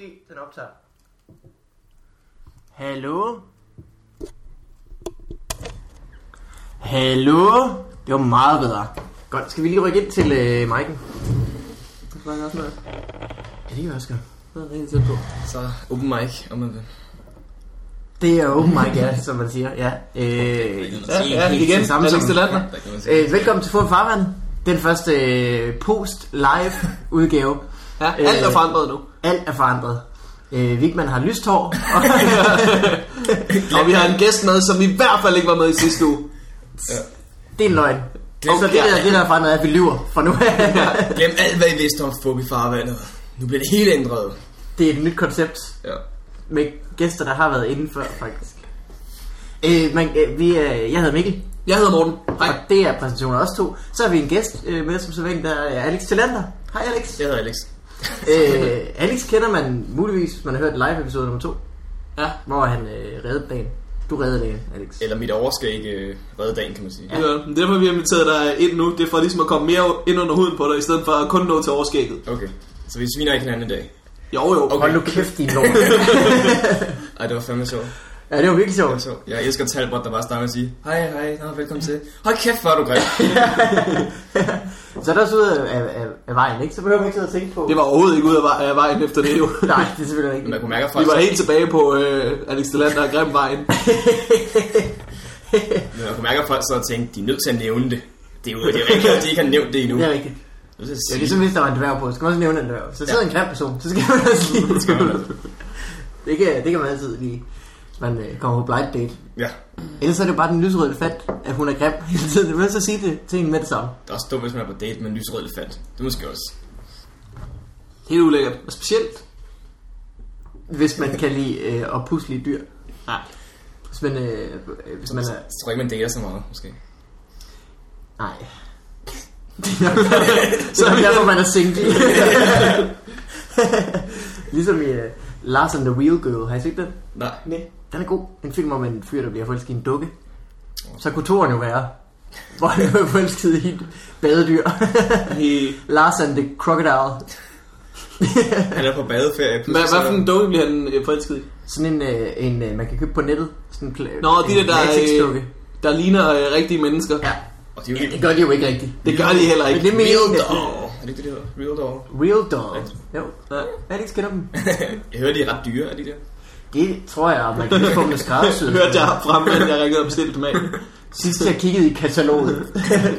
øh, optager. Hallo? Hallo? Det var meget bedre. Godt, skal vi lige rykke ind til øh, Mike'en? Det kan også noget. Ja, det kan vi også gøre. Det er rigtig tæt på. Så open mic, om man vil. Det er open mic, ja, som man siger. Ja, øh, Ja, ja, helt igen. til samme Alex som- Delander. Øh, velkommen til Fund Farvand. Den første øh, post-live-udgave. Ja, alt er forandret nu. Alt er forandret. Øh, Vigman har lyst hår. Og Og vi har en gæst med, som i hvert fald ikke var med i sidste uge. det er en løgn. Glem- så det, der, det der er forandret, er, at vi lyver fra nu af. Glem alt, hvad I vidste om Fobi farvandet. Nu bliver det helt ændret. det er et nyt koncept Ja. med gæster, der har været inde før, faktisk. Øh, men, øh, vi, øh, jeg hedder Mikkel, Jeg hedder Morten. Hej. og det er præsentationen af os to. Så har vi en gæst øh, med som så vanligt, der er Alex Tillander. Hej Alex. Jeg hedder Alex. øh, Alex kender man muligvis, hvis man har hørt live episode nummer 2, Ja. hvor han øh, reddede dagen. Du reddede dagen, Alex. Eller mit over skal ikke øh, redde dagen, kan man sige. Ja. Det er derfor, vi har inviteret dig ind nu. Det er for ligesom at komme mere ind under huden på dig, i stedet for at kun nå til overskægget. Okay. Så vi sviner ikke hinanden i dag. Jo, jo. Okay. Hold nu kæft, din lort. Ej, det var fandme sjovt. ja, det var virkelig sjovt. Så, jeg elsker Talbot, der bare starter med at sige, hej, hej, nå, velkommen til. Hold kæft, hvor er du grim. Så er der også ud af, af, øh, af, af vejen, ikke? Så behøver man ikke sidde og tænke på... Det var overhovedet ikke ud af vej- af vejen efter det jo. Nej, det er selvfølgelig ikke. Man kunne mærke, at folk... Vi var helt tilbage på øh, Alex Delander og Grimvejen. Men man kunne mærke, at folk så tænkte, de er nødt til at nævne det. Det er jo det er rigtigt, at de ikke har nævnt det endnu. Det er rigtigt. Det er, Det er ligesom hvis der var en dværg på, så skal man også nævne en dværg. Så sidder en grim person, så skal man også lige... det, kan, det kan man altid lige, hvis man øh, kommer på blind date. Ja, Ellers er det jo bare den lyserøde elefant, at hun er grim hele tiden. Du vil så sige det til hende med det samme. det er også dumt, hvis man er på date med en lysrød elefant. Det er måske også. Helt ulækkert. Og specielt. Hvis man kan lide øh, at pusle dyr. Ja. Hvis man, øh, øh, hvis man er... Altså- Jeg tror ikke, man dater så meget, måske. Nej. så er det derfor, man er single. ligesom i uh, Lars and the Wheel Girl. Har I set den? Nej. Nej. Den er god. En film om en fyr, der bliver forelsket i en dukke. Så kunne toren jo være, hvor han bliver forelsket i et badedyr. Lars and the Crocodile. Han er på badeferie. Hvad, hvad for en dukke bliver han øh, forelsket i? Sådan en, øh, en øh, man kan købe på nettet. Sådan en pla- Nå, de en der, der, øh, latexdukke. Der ligner øh, rigtige mennesker. Ja. Og det er jo ja, det ikke... gør de jo ikke rigtigt. Det gør de heller ikke. Men det er Real meningen, at- dog. Er det ikke det, det hedder? Real dog. Real Dolls. Jo. Ja. Hvad er det, ikke skiller dem? Jeg hører, de er ret dyre, er de der? Det tror jeg, man kan få med skræddersyet. Hørte jeg frem, at jeg ringede og bestilte dem af. Sidst jeg kiggede i kataloget.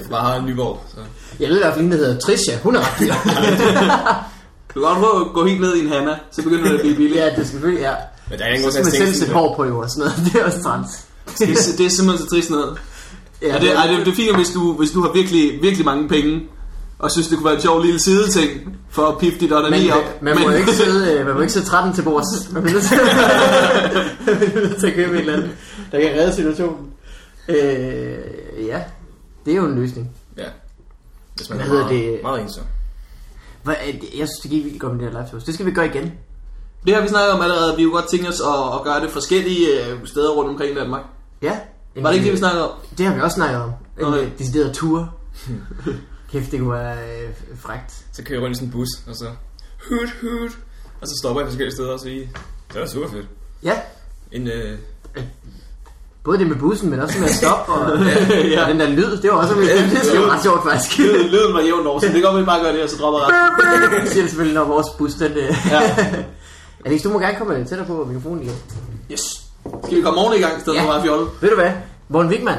Bare Nyborg. Så. Jeg ved i hvert fald, en, der hedder Trisha. Hun er ret dyr. Du kan godt prøve at gå helt ned i en Hanna, så begynder det at blive billigt. ja, det er selvfølgelig, ja. Men der er ingen Så grund til skal at man selv tænke sætte sådan, hår på jo og sådan noget. Det er også træls. Det, er, det er simpelthen så trist noget. Ja, Ja, det, ej, det, det er fint, hvis du, hvis du har virkelig, virkelig mange penge, og synes, det kunne være en sjov lille sideting for at pifte dit man, onani op. øh, man, må jo ikke sidde, øh, man må ikke sidde 13 til bords. Man bliver nødt til, man bliver nødt til at købe et eller andet, der kan redde situationen. Øh, ja, det er jo en løsning. Ja. Hvis man Hvad er hedder meget, det? det? meget ensom. Hvad er det- Jeg synes, det gik vildt godt med det her live shows. Det skal vi gøre igen. Det har vi snakket om allerede, vi kunne godt tænke os at, at gøre det forskellige øh, steder rundt omkring i Danmark. Ja. Var det ikke det, vi snakkede om? Det har vi også snakket om. En Nå, ja. okay. decideret tur. Kæft, det kunne være øh, frægt. Så kører jeg rundt i sådan en bus, og så... Hoot, hoot. Og så stopper jeg forskellige steder, og så lige... Det var super fedt. Ja, En, øh, både det med bussen, men også med at stoppe og, ja. og den der lyd. Det var også det, det var ret sjovt, faktisk. Lyden, lyden var jævn over, så det kan godt, være, vi bare gør det, og så dropper resten. Det siger det selvfølgelig, når vores bus den... Øh. Ja. Alex, du må gerne komme øh, tættere på mikrofonen igen. Yes. Skal vi komme oven i gang, i stedet Ja. for bare at fjolle? Ved du hvad? Morten Wigman.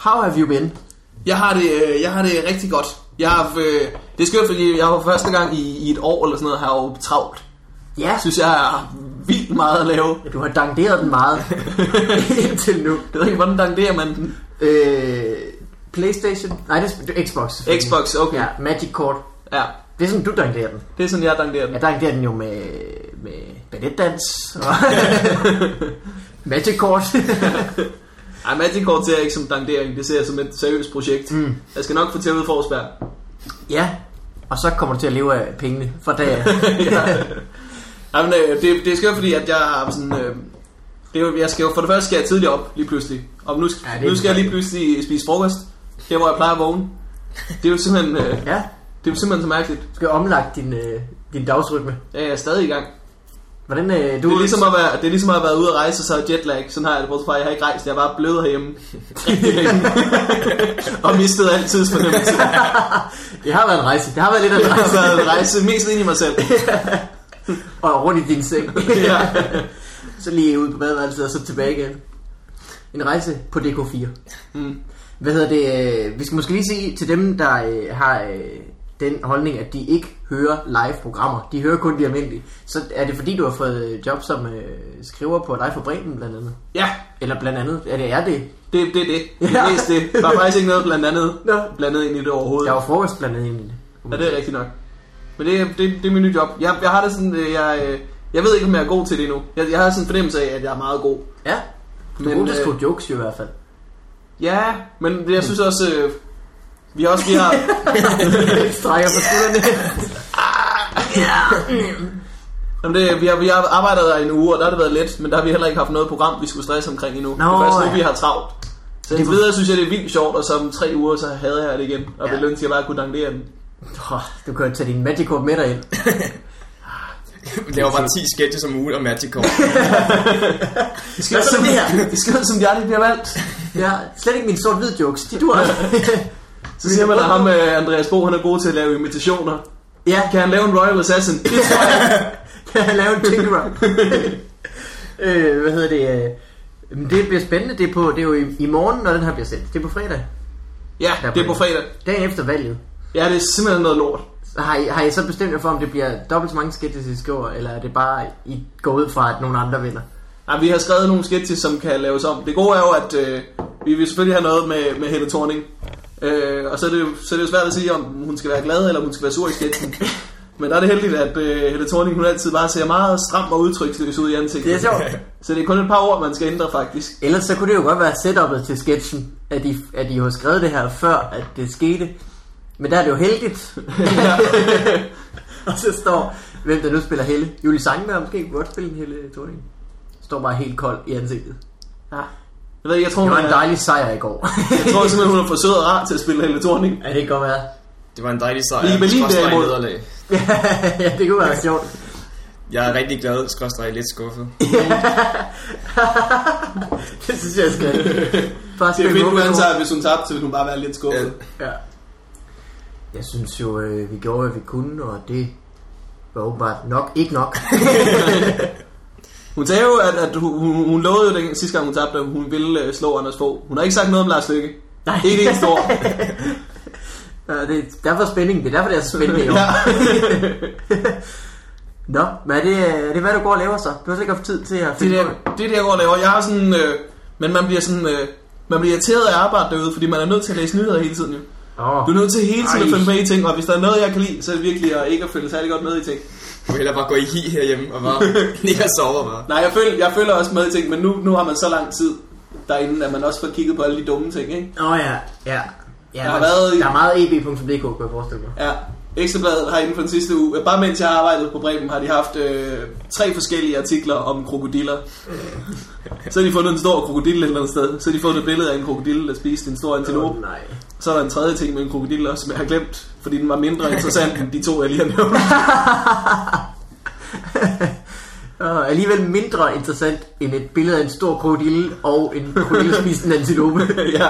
How have you been? Jeg har det, øh, jeg har det rigtig godt. Jeg har, haft, øh, det er skørt, fordi jeg var første gang i, i et år eller sådan noget, har jeg jo travlt. Ja, Jeg synes, jeg har vildt meget at lave. du har dangderet den meget indtil nu. Jeg ved ikke, hvordan danderer man den? Øh, Playstation? Nej, det er Xbox. Xbox, okay. Ja, Ja. Magic Cord. ja. Det er sådan, du dangderer den. Det er sådan, jeg danderer den. Jeg dangderer den jo med, med balletdans og Magic Cord. Ej, Magic Kort ser jeg ikke som dandering. Det ser jeg som et seriøst projekt. Mm. Jeg skal nok få til at ud Forsberg. ja, og så kommer du til at leve af pengene fra dag af. Ej, men, øh, det, det er skørt, fordi at jeg har sådan... Øh, det er, jo- jeg skal jo, for det første skal jeg tidligt op lige pludselig. Og nu, Ja, ja, det er nu skal jeg lige pludselig spise frokost. her hvor jeg plejer at vågne. Det er jo simpelthen, øh, Ja, det er jo simpelthen så mærkeligt. du skal omlagt din, øh, din dagsrytme. Ja, jeg er stadig i gang. Hvordan, øh, du Det er ligesom at være, det er ligesom at have været ude at rejse, og så er jetlag. Sådan har jeg det, bortset fra, at jeg har ikke rejst. Jeg er bare blevet herhjemme. Rigtig længe. og mistet alt tidsfornemmelse. Det har været en rejse. Det har været lidt af en Jeg har rejse. været rejse mest ind i mig selv. Og rundt i din seng. Ja. så lige ud på badeværelset og så tilbage igen. En rejse på DK4. Mm. Hvad hedder det? øh, Vi skal måske lige sige til dem, der øh, har øh, den holdning, at de ikke hører live-programmer. De hører kun de almindelige. Så er det fordi, du har fået øh, job som øh, skriver på Live for Bremen, blandt andet? Ja, Eller blandt andet? Er det er det? det, det er det. Det Ja. er mest det. Der er faktisk ikke noget blandt andet, Nå. blandt andet ind i det overhovedet. Der var frokost blandt andet. inden. Ja, det er rigtigt nok. Men det, er- det, det er min nye job. Jeg, jeg har det sådan, øh, jeg, øh, jeg ved ikke, om jeg er god til det endnu. Jeg, jeg har sådan en fornemmelse af, at jeg er meget god. Ja. Du Men, men, øh, øh, jokes jo i hvert fald. Ja, men jeg synes også, øh, vi har også, vi har, Strækker på skuldrene. jamen det, vi har, vi har arbejdet der i en uge, og der har det været let, men der har vi heller ikke haft noget program, vi skulle stresse omkring endnu. Nå, det er først nu, ja. vi har travlt. Så Det indtil var- videre synes jeg, det er vildt sjovt, og så om tre uger, så hader jeg det igen, og Ja. ja. vil ønske, at jeg bare kunne dankere den. Åh, Du kan jo tage din Magikorp med dig ind. Vi laver bare 10 sketches om ugen og Magic Corp. Det Hvad skal så som, det her? det skal som de aldrig bliver valgt. Ja, slet ikke mine sort-hvid jokes. De dur. Så siger man, at ham, øh, Andreas Bo, han er god til at lave imitationer. ja, Kan han lave en Royal Assassin? Det tror jeg. kan jeg lave en tinkerer? øh, hvad hedder det? øh, men Det bliver spændende. Det er, på, det er jo i, i morgen, når den her bliver sendt. Det er på fredag. Ja, det er på fredag. Dagen efter valget. Ja, det er simpelthen noget lort. Så Har I, har I så bestemt jer for, om det bliver dobbelt så mange sketches, I skriver, eller er det bare, I går ud fra, at nogen andre vinder? Ja, vi har skrevet nogle sketches, som kan laves om. Det gode er jo, at øh, vi vil selvfølgelig have noget med, med Helle Thorning. Øh, og så er, det jo, så er det jo svært at sige, om hun skal være glad, eller om hun skal være sur i sketchen. Men der er det heldigt, at øh, Helle Thorning, hun altid bare ser meget stram og udtryksløs ud i ansigtet. Det er sjovt. Så det er kun et par ord, man skal ændre faktisk. Ellers så kunne det jo godt være setupet til sketchen, at I, at I har skrevet det her før, at det skete. Men der er det jo heldigt. og så står, hvem der nu spiller Helle. Julie Sangberg måske kunne godt spille en Helle Thorning. Står bare helt kold i ansigtet. Ja. Jeg, ved, ikke, jeg, tror, Det hun var en er, dejlig sejr i går. jeg tror simpelthen, hun er for sød og rar til at spille Helle Thorning. ja, det kan godt være. Det var en dejlig Vi er sejr. i Berlin skråstreg derimod. nederlag. ja, det kunne være sjovt. Jeg er rigtig glad, skråstreg lidt skuffet. det synes jeg, jeg skal. Bare Det er spille fedt, hun Moonwalk. antager, hvis hun tabte, så vil hun bare være lidt skuffet. Ja. Ja. Jeg synes jo, øh, vi gjorde, hvad vi kunne, og det var åbenbart nok ikke nok. Hun sagde jo, at, at hun, hun, hun lovede jo den sidste gang, hun tabte, at hun ville øh, slå Anders Fogh. Hun har ikke sagt noget om Lars Lykke. Nej. Ikke et eneste ord. Ja, det, er- derfor spænding. Det er derfor, det er så spændende i år. Ja. Nå, men er det, er det hvad du går og laver så? Du har slet ikke haft tid til at Det, er finde det, på det. jeg- det er det, jeg går og laver. Jeg har sådan... Øh, men man bliver sådan... Øh, man bliver irriteret af at arbejde derude, fordi man er nødt til at læse nyheder hele tiden. Jo. Oh. Du er nødt til hele tiden Ej. at følge med i ting, og hvis der er noget, jeg kan lide, så er det virkelig at ikke at følge særlig godt med i ting. Jeg vil hellere bare gå i hi herhjemme og bare ligge og sove bare. Nej, jeg følger, jeg følger også med i ting, men nu, nu har man så lang tid derinde, at man også får kigget på alle de dumme ting, ikke? Nå ja, ja. ja har men været i- der er meget e eb.dk, kan jeg forestille mig. Ja, Ekstrabladet har inden for den sidste uge, bare mens jeg har arbejdet på Bremen, har de haft øh, tre forskellige artikler om krokodiller. så har de fundet en stor krokodil et eller andet sted. Så har de fundet et billede af en krokodille, der spiste en stor antilope. Åh, nej. Så er der en tredje ting med en krokodil også, som jeg har glemt, fordi den var mindre interessant end de to, jeg lige har nævnt. Og alligevel mindre interessant end et billede af en stor krokodille og en krokodillespisende antilope. ja.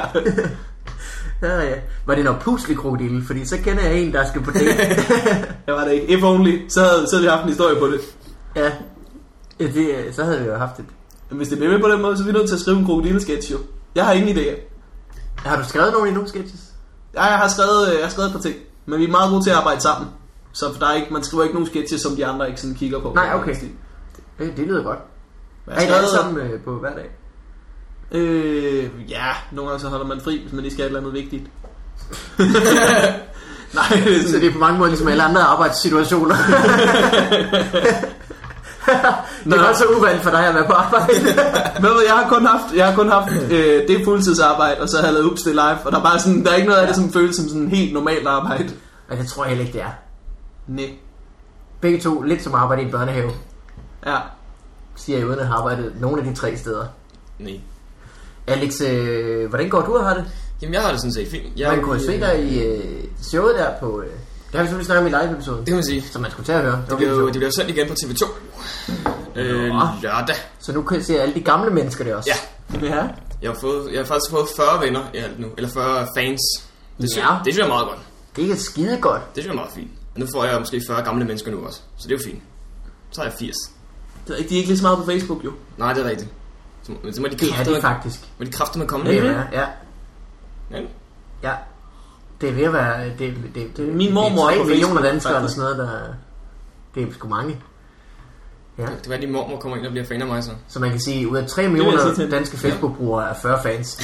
ja, ja. Var det en oppuslig krokodille? Fordi så kender jeg en, der skal på date. Jeg var det ikke. If only, så havde, så havde vi haft en historie på det. ja. ja det, så havde vi jo haft et. Men hvis det bliver ved på den måde, så er vi nødt til at skrive en krokodillesketch jo. Jeg har ingen idé. Har du skrevet nogen endnu, sketches? Ja, jeg har skrevet, øh, jeg har skrevet et par ting, men vi er meget gode til at arbejde sammen. Så der er ikke, man skriver ikke nogen sketches, som de andre ikke sådan kigger på. Nej, okay. Det, det lyder godt. Men Er Jeg I har alle skrevet, sammen øh, på hver dag? øh, ja, nogle gange så holder man fri, hvis man lige skal et eller andet vigtigt. Nej, det er Så sådan, det er på mange måder ligesom alle andre arbejdssituationer. det Nå. er også uvandt for dig at være på arbejde. men ved, du, jeg har kun haft, jeg har kun haft øh, det fuldtidsarbejde, og så har jeg lavet Ups, det er live, og der er bare sådan, der er ikke noget af det, som føles som sådan helt normalt arbejde. Men det tror jeg heller ikke, det er. Nej. Begge to lidt som arbejde i en børnehave, Ja. siger jeg uden at have arbejdet nogen af de tre steder. Nej. Alex, øh, hvordan går du og har det? Jamen, jeg har det sådan set fint. Jeg, Man kunne jo se øh, dig i øh, showet der på... Øh, det har vi selvfølgelig snakket om i live-episoden. Det kan man sige. Som man skulle tage at høre. Det bliver, jo, det bliver jo sendt igen på TV2. Øh, lørdag. Så nu kan jeg se alle de gamle mennesker det også. Ja. Ja. Jeg har, fået, jeg har faktisk fået 40 venner i alt nu. Eller 40 fans. Det synes, Ja. det synes jeg er meget godt. Det er skide godt. Det synes jeg er meget fint. Og nu får jeg måske 40 gamle mennesker nu også. Så det er jo fint. Så er jeg 80. Det er ikke- De er ikke lige så meget på Facebook, jo. Nej, det er rigtigt. Så, må- men så må de Det er kræfte det med, faktisk. må de kræfte med komme Det ned. er, ja, Ja. ja. Det er ved at være... Det, det, det, det Min mormor er er på 3 millioner Facebook, danskere eller faktisk. sådan noget, der... Det er sgu mange. Ja. Det kan være, at din mormor kommer ind og bliver fan af mig så. Så man kan sige, ud af 3 sige til millioner hende. danske Facebook-brugere er 40 fans.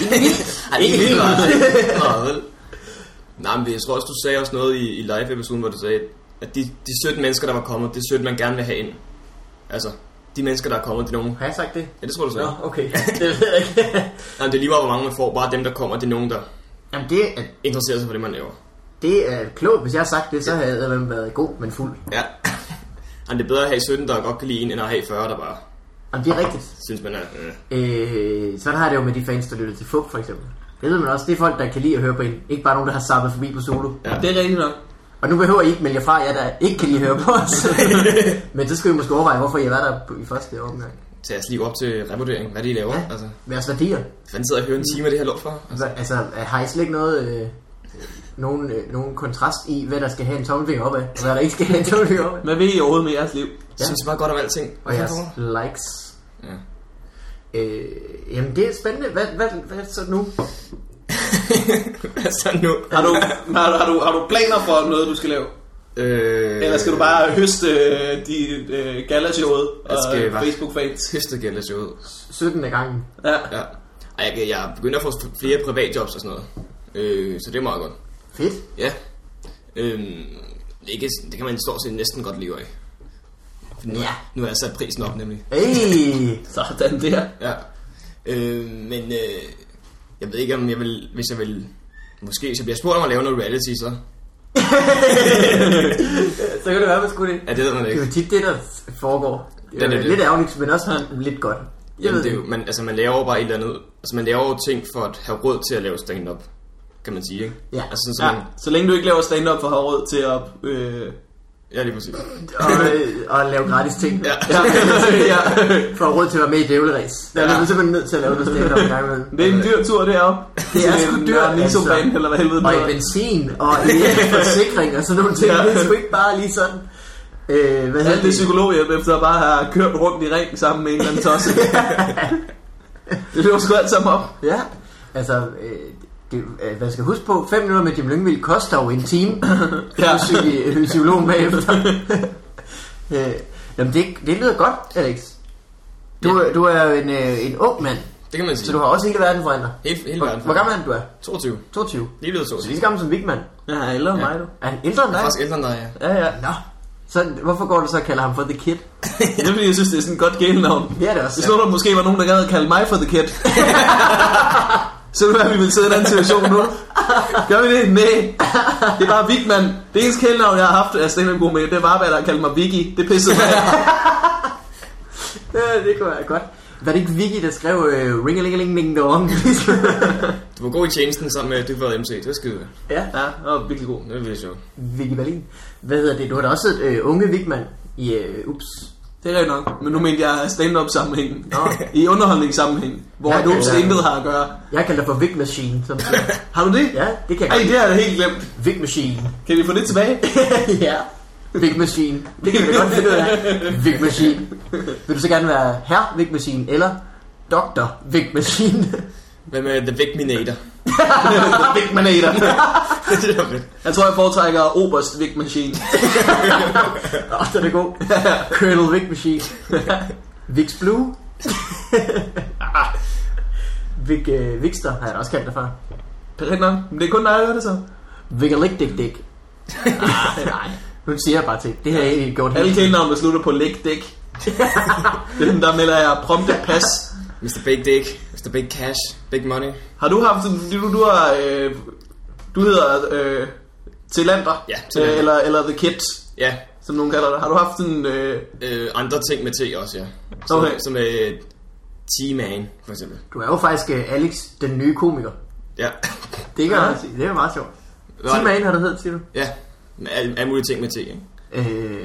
Ej, det er helt meget. Nå, vel. Nej, men jeg tror også, du sagde også noget i, i live-episoden, hvor du sagde, at de, de 17 mennesker, der var kommet, det er 17, man gerne vil have ind. Altså, de mennesker, der er kommet, det er nogen. Har jeg sagt det? Ja, det tror du så. Nå, Ja. okay. Det ved jeg ikke. Jamen, det er lige meget, hvor mange man får. Bare dem, der kommer, det er nogen, der Jamen, det er, interesserer sig for det, man laver. det er klogt. Hvis jeg har sagt det, så havde jeg været god, men fuld. Ja. Jamen, det er bedre at have 17, der godt kan lide en, end at have 40, der bare Jamen, det er rigtigt. synes, man er... Øh. Øh, sådan har jeg det jo med de fans, der lytter til FUP, for eksempel. Det ved man også. Det er folk, der kan lide at høre på en. Ikke bare nogen, der har zappet forbi på solo. Ja. Det er rigtigt nok. Og nu behøver I ikke melde jer fra, jer der ikke kan lide at høre på os. men så skal I måske overveje, hvorfor I var der på- i første omgang. Tage jeres liv op til revurdering. Hvad er det, I laver? Ja. Altså, Jeres værdier. fanden sidder jeg og hører en time af det her lort for? Altså, Hva, altså, er- har I slet ikke noget... Øh, nogen, øh, nogen kontrast i, hvad der skal have en tommelfinger op af, og hvad der ikke skal have en tommelfinger op af. Hvad ved I overhovedet med jeres liv? jeg synes bare godt om alting. Og jeres likes. Ja. Øh, jamen, det er spændende. Hvad, hvad, hvad så nu? Hvad så Altså, nu? Har du, har, du- har, du, har du planer for noget, du skal lave? Øh, Eller skal du bare høste øh, de øh, galashowet og Jeg skal øh, bare- Facebook-fans? Pisse gælder sig ud. 17. gangen. Ja. Ja. Ej, jeg, jeg begynder at få flere privatjobs og sådan noget. Øh, så det er meget godt. Fedt. Ja. Øhm, ikke, det kan man stort set næsten godt leve af. For nu, Ja. nu har jeg sat prisen op nemlig. Hey! Sådan der. Ja. Øh, men øh, jeg ved ikke, om jeg vil, hvis jeg vil... Måske, hvis jeg bliver spurgt om at lave noget reality, så... Så kan det være, man skulle det. Ja, det ved man Det er ikke. jo tit det, der foregår. Det er Det jo er det. lidt ærgerligt, men også lidt godt. Jeg Jamen, ved det er jo, man, altså, man laver jo bare et eller andet... Altså, man laver jo ting for at have råd til at lave stand-up, kan man sige, ikke? Ja. Altså, sådan, så Ja, man, så længe du ikke laver stand-up for at have råd til at... Øh, ja, lige præcis. og, øh, og lave gratis ting. Ja. ja, ja. For råd til at være med i dævleræs. Der er Ja. man simpelthen nødt til at lave noget stand en gang imellem. Det er en dyr tur deroppe. Det er Til sgu den dyrt, Altså, der Nissan-bane, eller hvad helvede Og det i hedder. benzin, og i forsikring og sådan nogle ting. Ja. Det er sgu ikke bare lige sådan. Øh, hvad hedder Alt Altså, det psykologhjælp efter at bare have kørt rundt i ring sammen med en eller anden tosse. det løber sgu alt sammen op. Ja, altså, øh, det, øh, man skal huske på, 5 minutter med Jim Lyngvild koster jo en time. ja. Ja. Psyki, psykologen bagefter. øh, jamen, det, det lyder godt, Alex. Du, ja. du er jo en, øh, en ung mand, Det kan man sige. så du har også hele verden foran dig. Hele, hele Hvor, verden. hvor gammel er du? du? er? 22. 22. Lige blevet Så 22. lige så gammel som Vigman. Ja, eller mig du. Er han ældre end Jeg dig? er faktisk ældre end dig, ja. Ja, ja. Nå. Så, hvorfor går du så og kalder ham for The Kid? Det er fordi, jeg synes, det er sådan et godt gælenavn. Det er det også. Hvis nu der måske var nogen, der gad at kalde mig for The Kid, så ville det være, at vi ville sidde i en anden situation nu. Gør vi det? Nej. Det er bare Vigman. Det eneste kælenavn, jeg har haft, er Stenham god med, det var, hvad der kaldte mig Vicky. Det pissede mig. af. Ja, det kunne være godt. Var det ikke Vicky, der skrev øh, ring a ling a ling ding dong Du var god i tjenesten sammen med, at du var MC. Det var skide. godt. ja. Ja, det var virkelig god. Det var virkelig sjovt. Vicky Berlin. Hvad hedder det? Du har da også et øh, unge Vigman i... Øh, ups. Det er rigtigt nok. Men nu mente jeg stand-up sammenhæng. Nå. I underholdningssammenhæng. Hvor Ja, ja, du ja. intet har at gøre. Jeg kalder det for Vig Machine. Som, Har du det? ja, det kan jeg Ej, godt. det har jeg da helt glemt. Vig Machine. Kan vi få det tilbage? ja. Vig Machine. Det kan vi da godt finde ud af. Vig Machine. Vil du så gerne være herr Vig Machine eller doktor Vig Machine? Hvad med The Vigminator? Vigmanator. det var fedt. Jeg tror, jeg foretrækker Oberst Vig Machine. Åh, oh, den er god. Colonel Vig Machine. Vig's Blue. Vig, øh, Vigster har jeg da også kaldt dig for. Det er rigtigt nok. Men det er kun dig, der hører det så. Vigalik Dick Dick. Ah, nej. Nu siger jeg bare til. Det har jeg egentlig gjort Alle hele tiden. kælenavne slutter på læg dæk. det er den, der melder jer prompte pas. Mr. Big Dick. Mr. Big Cash. Big Money. Har du haft sådan, du, du har, øh, du hedder øh, Tillander, Ja, Tillander. Øh, eller, eller The Kid, Ja. som nogen kalder det. Har du haft sådan, øh, Øh, andre ting med T også, ja. Som, Okay. som øh, T-Man, for eksempel. Du er jo faktisk øh, Alex, den nye komiker. Ja. Det kan Ja. jeg sige. Det Ah. er meget sjovt. Hvad var det? T-Man har du heddet, siger du? Ja. Med alle, alle mulige ting med T, ikke? Øh,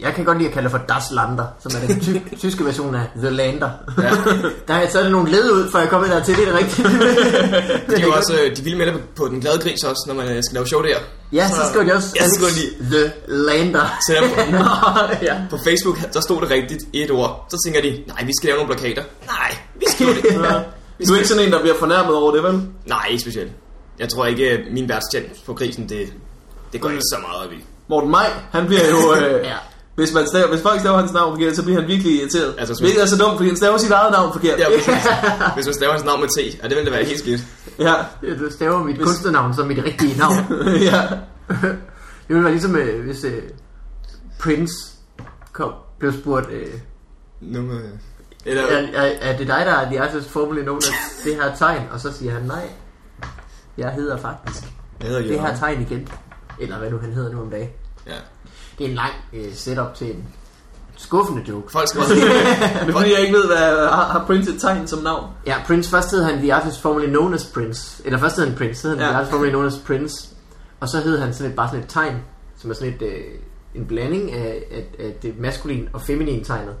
jeg kan godt lide at kalde det for Das Lander, som er den ty- tyske version af The Lander. Ja. Der er, så er det nogle led ud, for jeg kommer der til det er rigtigt. De, er jo også, øh, de ville melde på, på den glade gris også, når man øh, skal lave show der. ja, så skriver de også Ja, så skriver The Lander. Så der, ja. på Facebook, der stod det rigtigt i et ord. Så tænker de, nej, vi skal lave nogle plakater. Nej, vi skal jo det. Du er ikke sådan en, der bliver fornærmet over det, vel? Nej, ikke specielt. Jeg tror ikke, øh, min værtstjent på grisen, det, det går ikke så meget op i. Morten Maj, han bliver jo... Øh, Ja. Hvis, man stav, hvis folk staver hans navn forkert, så bliver han virkelig irriteret. Altså, Altså, sådan- Hvilket er så dumt, fordi han staver sit eget navn forkert. Ja, hvis, hvis man staver hans navn med T, ja, det ville da være helt skidt. ja. Du staver mit kunstnernavn som mit rigtige navn. ja. det ville være ligesom, øh, hvis øh, Prince kom, blev spurgt, øh, Nu med... Eller, er, er, er det dig, der er The Artist Formally Known as det her tegn? Og så siger han, nej, jeg hedder faktisk hvad hedder det her Jørgen? tegn igen. Eller hvad nu han hedder nu om dagen. Ja. Det er en lang øh, setup til en skuffende joke. Folk skal også... Men det er fordi, jeg ikke ved, hvad har, har Prince et tegn som navn. Ja, Prince, først hed han The Artist Formerly Known as Prince. Eller først hed han Prince, så hed han Ja. The Artist Formerly Known as Prince. Og så hed han sådan et, bare sådan et tegn, som er sådan et, øh, en blanding af, af, af det maskulin og feminin tegnet.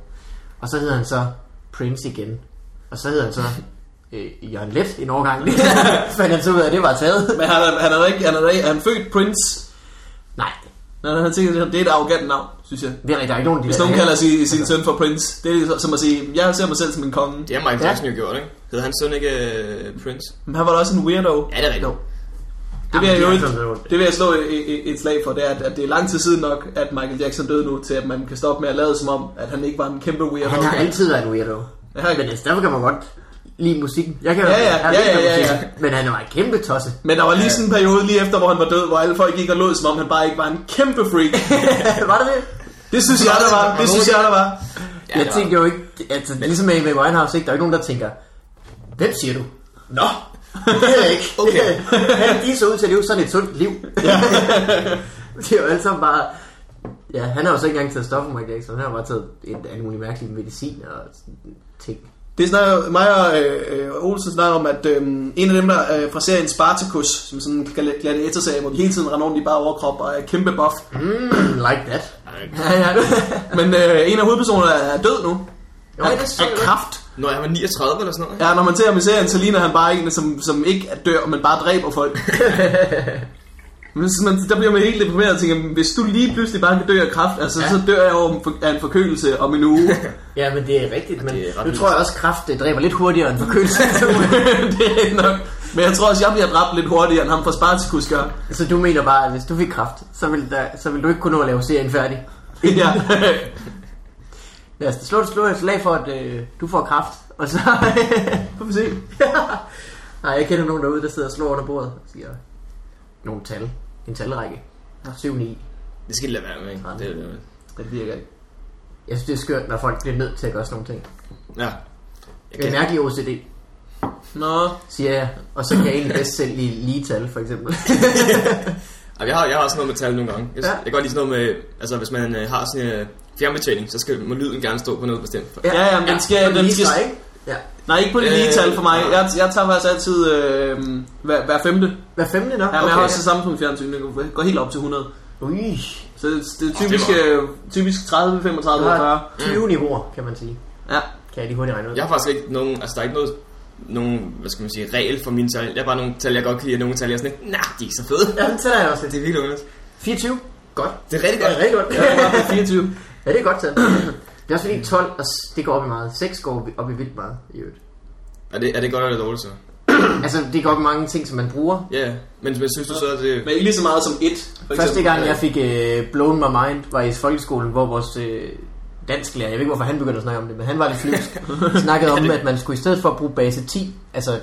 Og så hed han så Prince igen. Og så hed han så øh, Jørgen Let en årgang. Fandt han så ud af, at det var taget. Men han er, han er, ikke, han er, ikke- han er født Prince. Nej, Når han tænker, det er et arrogant navn, synes jeg. det er rigtigt, der er ikke nogen, de Hvis lader nogen have. kalder sin, sin søn for Prince, det er ligesom- som at sige, jeg ser mig selv som en konge. Det har Michael Ja. Jackson jo gjort, ikke? Hed hans søn ikke øh, Prince? Men han var da også en weirdo. Ja, det er Jo. rigtigt. Det vil, Jamen, jeg jo er ikke, sådan noget. det vil jeg slå et, et, et slag for, det er, at, at det er lang tid siden nok, at Michael Jackson døde nu, til at man kan stoppe med at lade som om, at han ikke var en kæmpe weirdo. Han har altid været en weirdo. Ja, ikke? Men altså, derfor kan man godt lide musikken. Jeg kan Ja, ja, jeg kan ja, lide ja, ja, musikken, Men han var en kæmpe tosse. Men der var lige sådan en periode lige efter, hvor han var død, hvor alle folk gik og lod, som om han bare ikke var en kæmpe freak. var det det? Det synes jeg, der var. Det synes jeg, der var. Ja, jeg det var- tænker jo ikke, altså ligesom med Amy Winehouse, ikke? der er ikke nogen, der tænker, hvem siger du? Nå, det ved jeg ikke. Okay. han, de så ud til at leve sådan et sundt liv. det er jo alle sammen bare... Ja, han har jo så ikke engang taget stoffer, Michael Jackson. Han har bare taget et alle mulige mærkelige medicin og sådan ting. Det snakker mig og øh, øh, Olsen snakker om, at øh, en af dem der øh, fra serien Spartacus, som sådan en gla- gladiatorserie, hvor de hele tiden render rundt i bare overkrop og er kæmpe buff. Mm, like that. Ja, ja. Men øh, en af hovedpersonerne er død nu. Jo, Af, det er så af kraft. Når han var 39 eller sådan noget, ikke? Ja, når man ser ham i serien, så ligner han bare en, som, som ikke dør, men bare dræber folk. Men så- man, der bliver man helt deprimeret og tænker, hvis du lige pludselig bare kan dø af kræft, altså, ja. Ja. så dør jeg over en for- af en forkølelse om en uge. Ja, men det er rigtigt, men det er ret nu vildt. tror jeg også, at kraft det dræber lidt hurtigere end forkølelse. det er nok. Men jeg tror også, jeg bliver dræbt lidt hurtigere, end ham fra Spartacus gør. så du mener bare, at hvis du fik kraft, så ville, der, så ville du ikke kunne nå at lave serien færdig? ja. Lad os slå, slå et slag for, at øh, du får kraft, og så... Får vi se. Nej, jeg kender nogen derude, der sidder og slår under bordet og siger nogle tal. En talrække. 7, 9. Det skal de lade være med, ikke? Det, er det, med. Det virker ikke. Jeg synes, det er skørt, når folk bliver nødt til at gøre sådan nogle ting. Ja. Jeg Det er kan, mærkelig OCD, Nå, siger jeg. Og så kan jeg egentlig bedst selv lide lige tal, for eksempel. Jamen, jeg, har, jeg har også noget med tal nogle gange. Jeg, Ja. jeg kan godt lide sådan noget med... Altså, hvis man øh, har sådan en øh, fjernbetjening, så skal, må lyden gerne stå på noget bestemt. Ja, ja, men den skal- og den lige skal- streg, ikke? Ja. nej, ikke på det Øh, lige tal for mig. nej. Jeg, jeg tager faktisk altid øh, hver, hver femte. Ja, Hver femte nok? men okay. jeg har Okay. også det samme som fjernsyn. Det går helt op til 100. Ui, Så det, det er Ah, er typisk, øh, typisk 30, 35, der 40. er 20 niveauer, kan man sige. Ja. Kan jeg lige hurtigt regne ud. Jeg har faktisk ikke nogen... Altså, der er ikke noget nogen, hvad skal man sige, regel for mine tal. Jeg har bare nogle tal, jeg godt kan lide, og nogle tal, jeg er sådan, nej, nah, de er ikke så fede. Ja, den tæller jeg også Det lidt. er virkelig underligt. 24? Godt. Det er rigtig Det godt. er rigtig godt. Jeg er bare på 24. Ja, det er godt tal. Det er også fordi 12, og s- det går op i meget. 6 går op i- op i vildt meget, i øvrigt. Er det, er det godt eller dårligt så? Altså, det går op i mange ting, som man bruger. Ja, yeah. men, men synes du så, at det... Men ikke lige så meget som 1. Første gang, jeg fik øh, blown my mind, var i folkeskolen, hvor vores øh, dansklærer, jeg ved ikke, hvorfor han begyndte at snakke om det, men han var lidt flyvsk, snakkede om, at man skulle i stedet for at bruge base 10, altså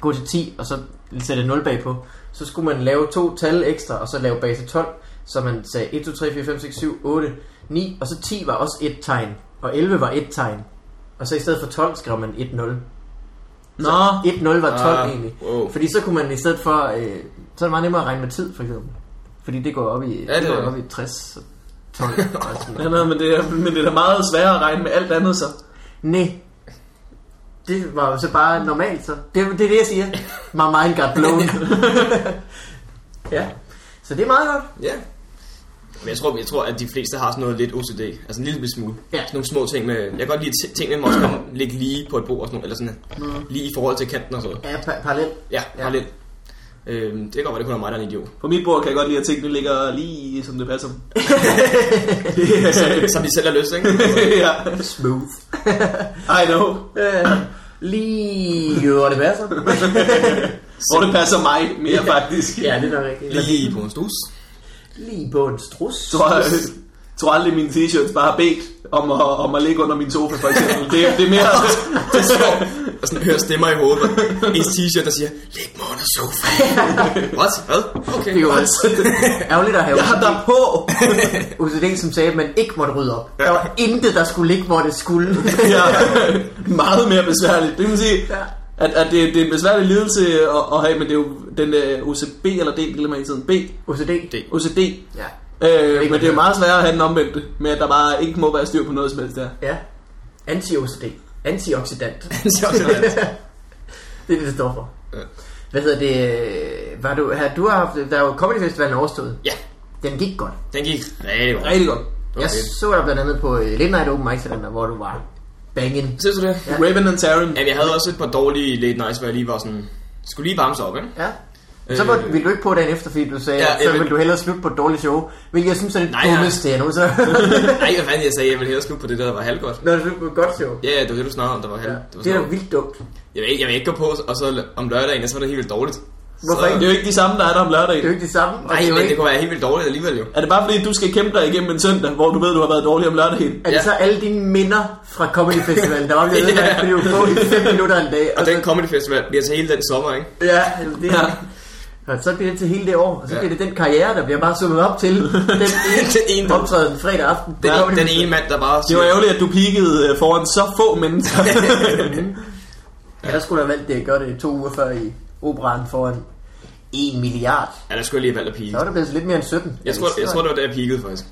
gå til 10 og så sætte 0 bag på, så skulle man lave to tal ekstra, og så lave base 12, så man sagde 1, 2, 3, 4, 5, 6, 7, 8, 9, og så 10 var også et tegn, og 11 var et tegn. Og så i stedet for 12 skrev man 1, 0. Nå, 1, 0 var 12 Ah, egentlig. wow. Fordi så kunne man i stedet for, øh, så er det meget nemmere at regne med tid, for eksempel. Fordi det går op i, Ja, ja, det det går er op i 60 og 12. og sådan ja, noget. nej, men, det er, men det er da meget sværere at regne med alt andet så. Nej. det var jo så bare normalt, så. Det, det er det, jeg siger. My mind got blown. ja. Så det er meget godt. Ja. Men jeg tror, jeg tror, at de fleste har sådan noget lidt OCD. Altså en lille bitte smule. Ja. Sådan nogle små ting med... Jeg kan godt lide, at tingene må også komme, ligge lige på et bord og sådan noget. Eller sådan lige i forhold til kanten og sådan noget. Ja, pa- parallelt. Ja, Ja. parallelt. Øhm, det kan godt være, det kun er mig, der er en idiot. På mit bord kan jeg godt lide, at tingene ligger lige, som det passer. Så, så vi selv har lyst, ikke? ja. Smooth. I know. Øh, lige hvor det passer. Hvor det passer mig mere, faktisk. ja, det er nok rigtigt. Eller Lige på en stus. Lige på en strus. tror, jeg tror aldrig, mine t-shirts bare har bedt om at, om at ligge under min sofa, for eksempel. Det, det er mere... Det står og sådan hører stemmer i hovedet. og Ens t-shirt, der siger, læg mig under sofaen. What? Hvad? Okay. Altså, Det er jo ærgerligt at have Jeg har OCD. dig på! OCD, som sagde, at man ikke måtte rydde op. Der var intet, der skulle ligge, hvor det skulle. Ja, meget mere besværligt. Det kan man sige, Ja. at, at det, det er en besværlig lidelse at, at have, men det er jo den der OCB eller D, det glemmer jeg hele tiden. B, OCD? Det. OCD. Ja. Øh, men det er jo meget sværere at have den omvendte, med at der bare ikke må være styr på noget som helst der. Ja. Anti-OCD. Antioxidant. Så er det sådan, Det er det, det står for. Ja. Hvad hedder det? øh, Var du, har, du har haft, der er jo Comedy Festivalen overstået. Ja, Den gik godt. den gik rigtig godt. Rigtig godt. Okay. Jeg så dig blandt andet på øh, Late Night Open Mic Center, hvor du var banging. Synes du det? Ja. Raven and Taryn. Jamen, jeg havde også et par dårlige late nights, hvor jeg lige var sådan... Skulle lige varme sig op, ikke? Ja. Så var, ville du ikke på dagen efter, fordi du sagde, Øh. Ja, ja, så jeg vil- ville du hellere slutte på et dårligt show. Hvilket jeg synes er det Nej, nej. dummeste, jeg nogensinde har Nej, hvad fanden, jeg sagde, jeg ville hellere slutte på det der, der var halvgodt. Når du slutter på et godt show. Ja, ja, det var det, du snakkede om, der var halv... Ja. var Det er sådan da vildt dumt. noget. jeg, vil ikke, jeg vil ikke gå på, og så om lørdagen, og så var det helt vildt dårligt. Hvorfor så, Det er jo ikke de samme, der er der om Det er jo lørdagen. ikke det samme. og Nej, det er jo men det ikke... kunne være helt vildt dårligt alligevel jo. Er det bare fordi, du skal kæmpe dig igennem en søndag, hvor du ved, du har været dårlig om lørdagen? Er det Ja. så alle dine minder fra Comedy Festivalen, der var blevet ødelagt, fordi du på i 5 minutter en dag? Og den comedy festival bliver til hele den sommer, ikke? Ja, det Ja. Og så bliver det til hele det år, og så Ja. bliver det den karriere, der bliver bare summet op til Den den ene- ene optræden fredag aften. Den, kommer den det- ene mand, der bare Det siger, var ærgerligt, at du peakede øh, foran så få mennesker. Ja, der skulle du have valgt det at gøre det to uger før i operan foran 1 milliard. ja, der skulle jeg lige have valgt at pige. Så var det blevet så lidt mere end 17. Jeg tror, jeg tror, det var der, jeg peakede, faktisk.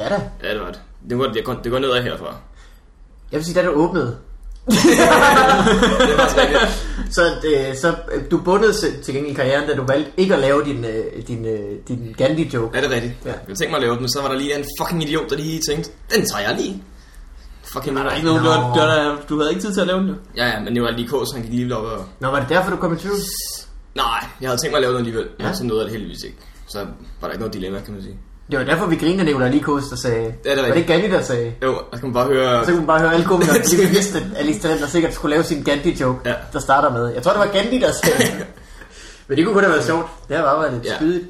Ja da. Ja, det var det. Det går, det går, det går nedad herfra. Jeg vil sige, da du åbnede, Det var faktisk rigtigt. så, øh, så øh, du bundede se- til gengæld karrieren, da du valgte ikke at lave din, øh, din, øh, din Gandhi-joke. Er det rigtigt? Ja. Jeg tænkte mig at lave den, men så var der lige en fucking idiot, der lige tænkte, den tager jeg lige. Fucking Der er nej. ikke nogen, Nå. du, har- du, har- du havde ikke tid til at lave den, jo. Ja, ja, men det var lige kås, han gik lige lidt op og... Nå, var det derfor, du kom i tvivl? Nej, jeg havde tænkt mig at lave den alligevel, men Ja. ja. så nåede jeg det heldigvis ikke. Så var der ikke noget dilemma, kan man sige. Det var derfor, vi griner, Nicolai Likos, der sagde... er var rigtigt. det ikke Gandhi, der sagde... Jo, der kan man bare høre... Så kunne man bare høre alle komikere, fordi vi vidste, at Alice Talent der sikkert skulle lave sin Gandhi-joke, Ja. ja. der starter med. Jeg tror, det var Gandhi, der sagde Men det kunne kun have været sjovt. Det har bare været lidt Ja. ja. spydigt.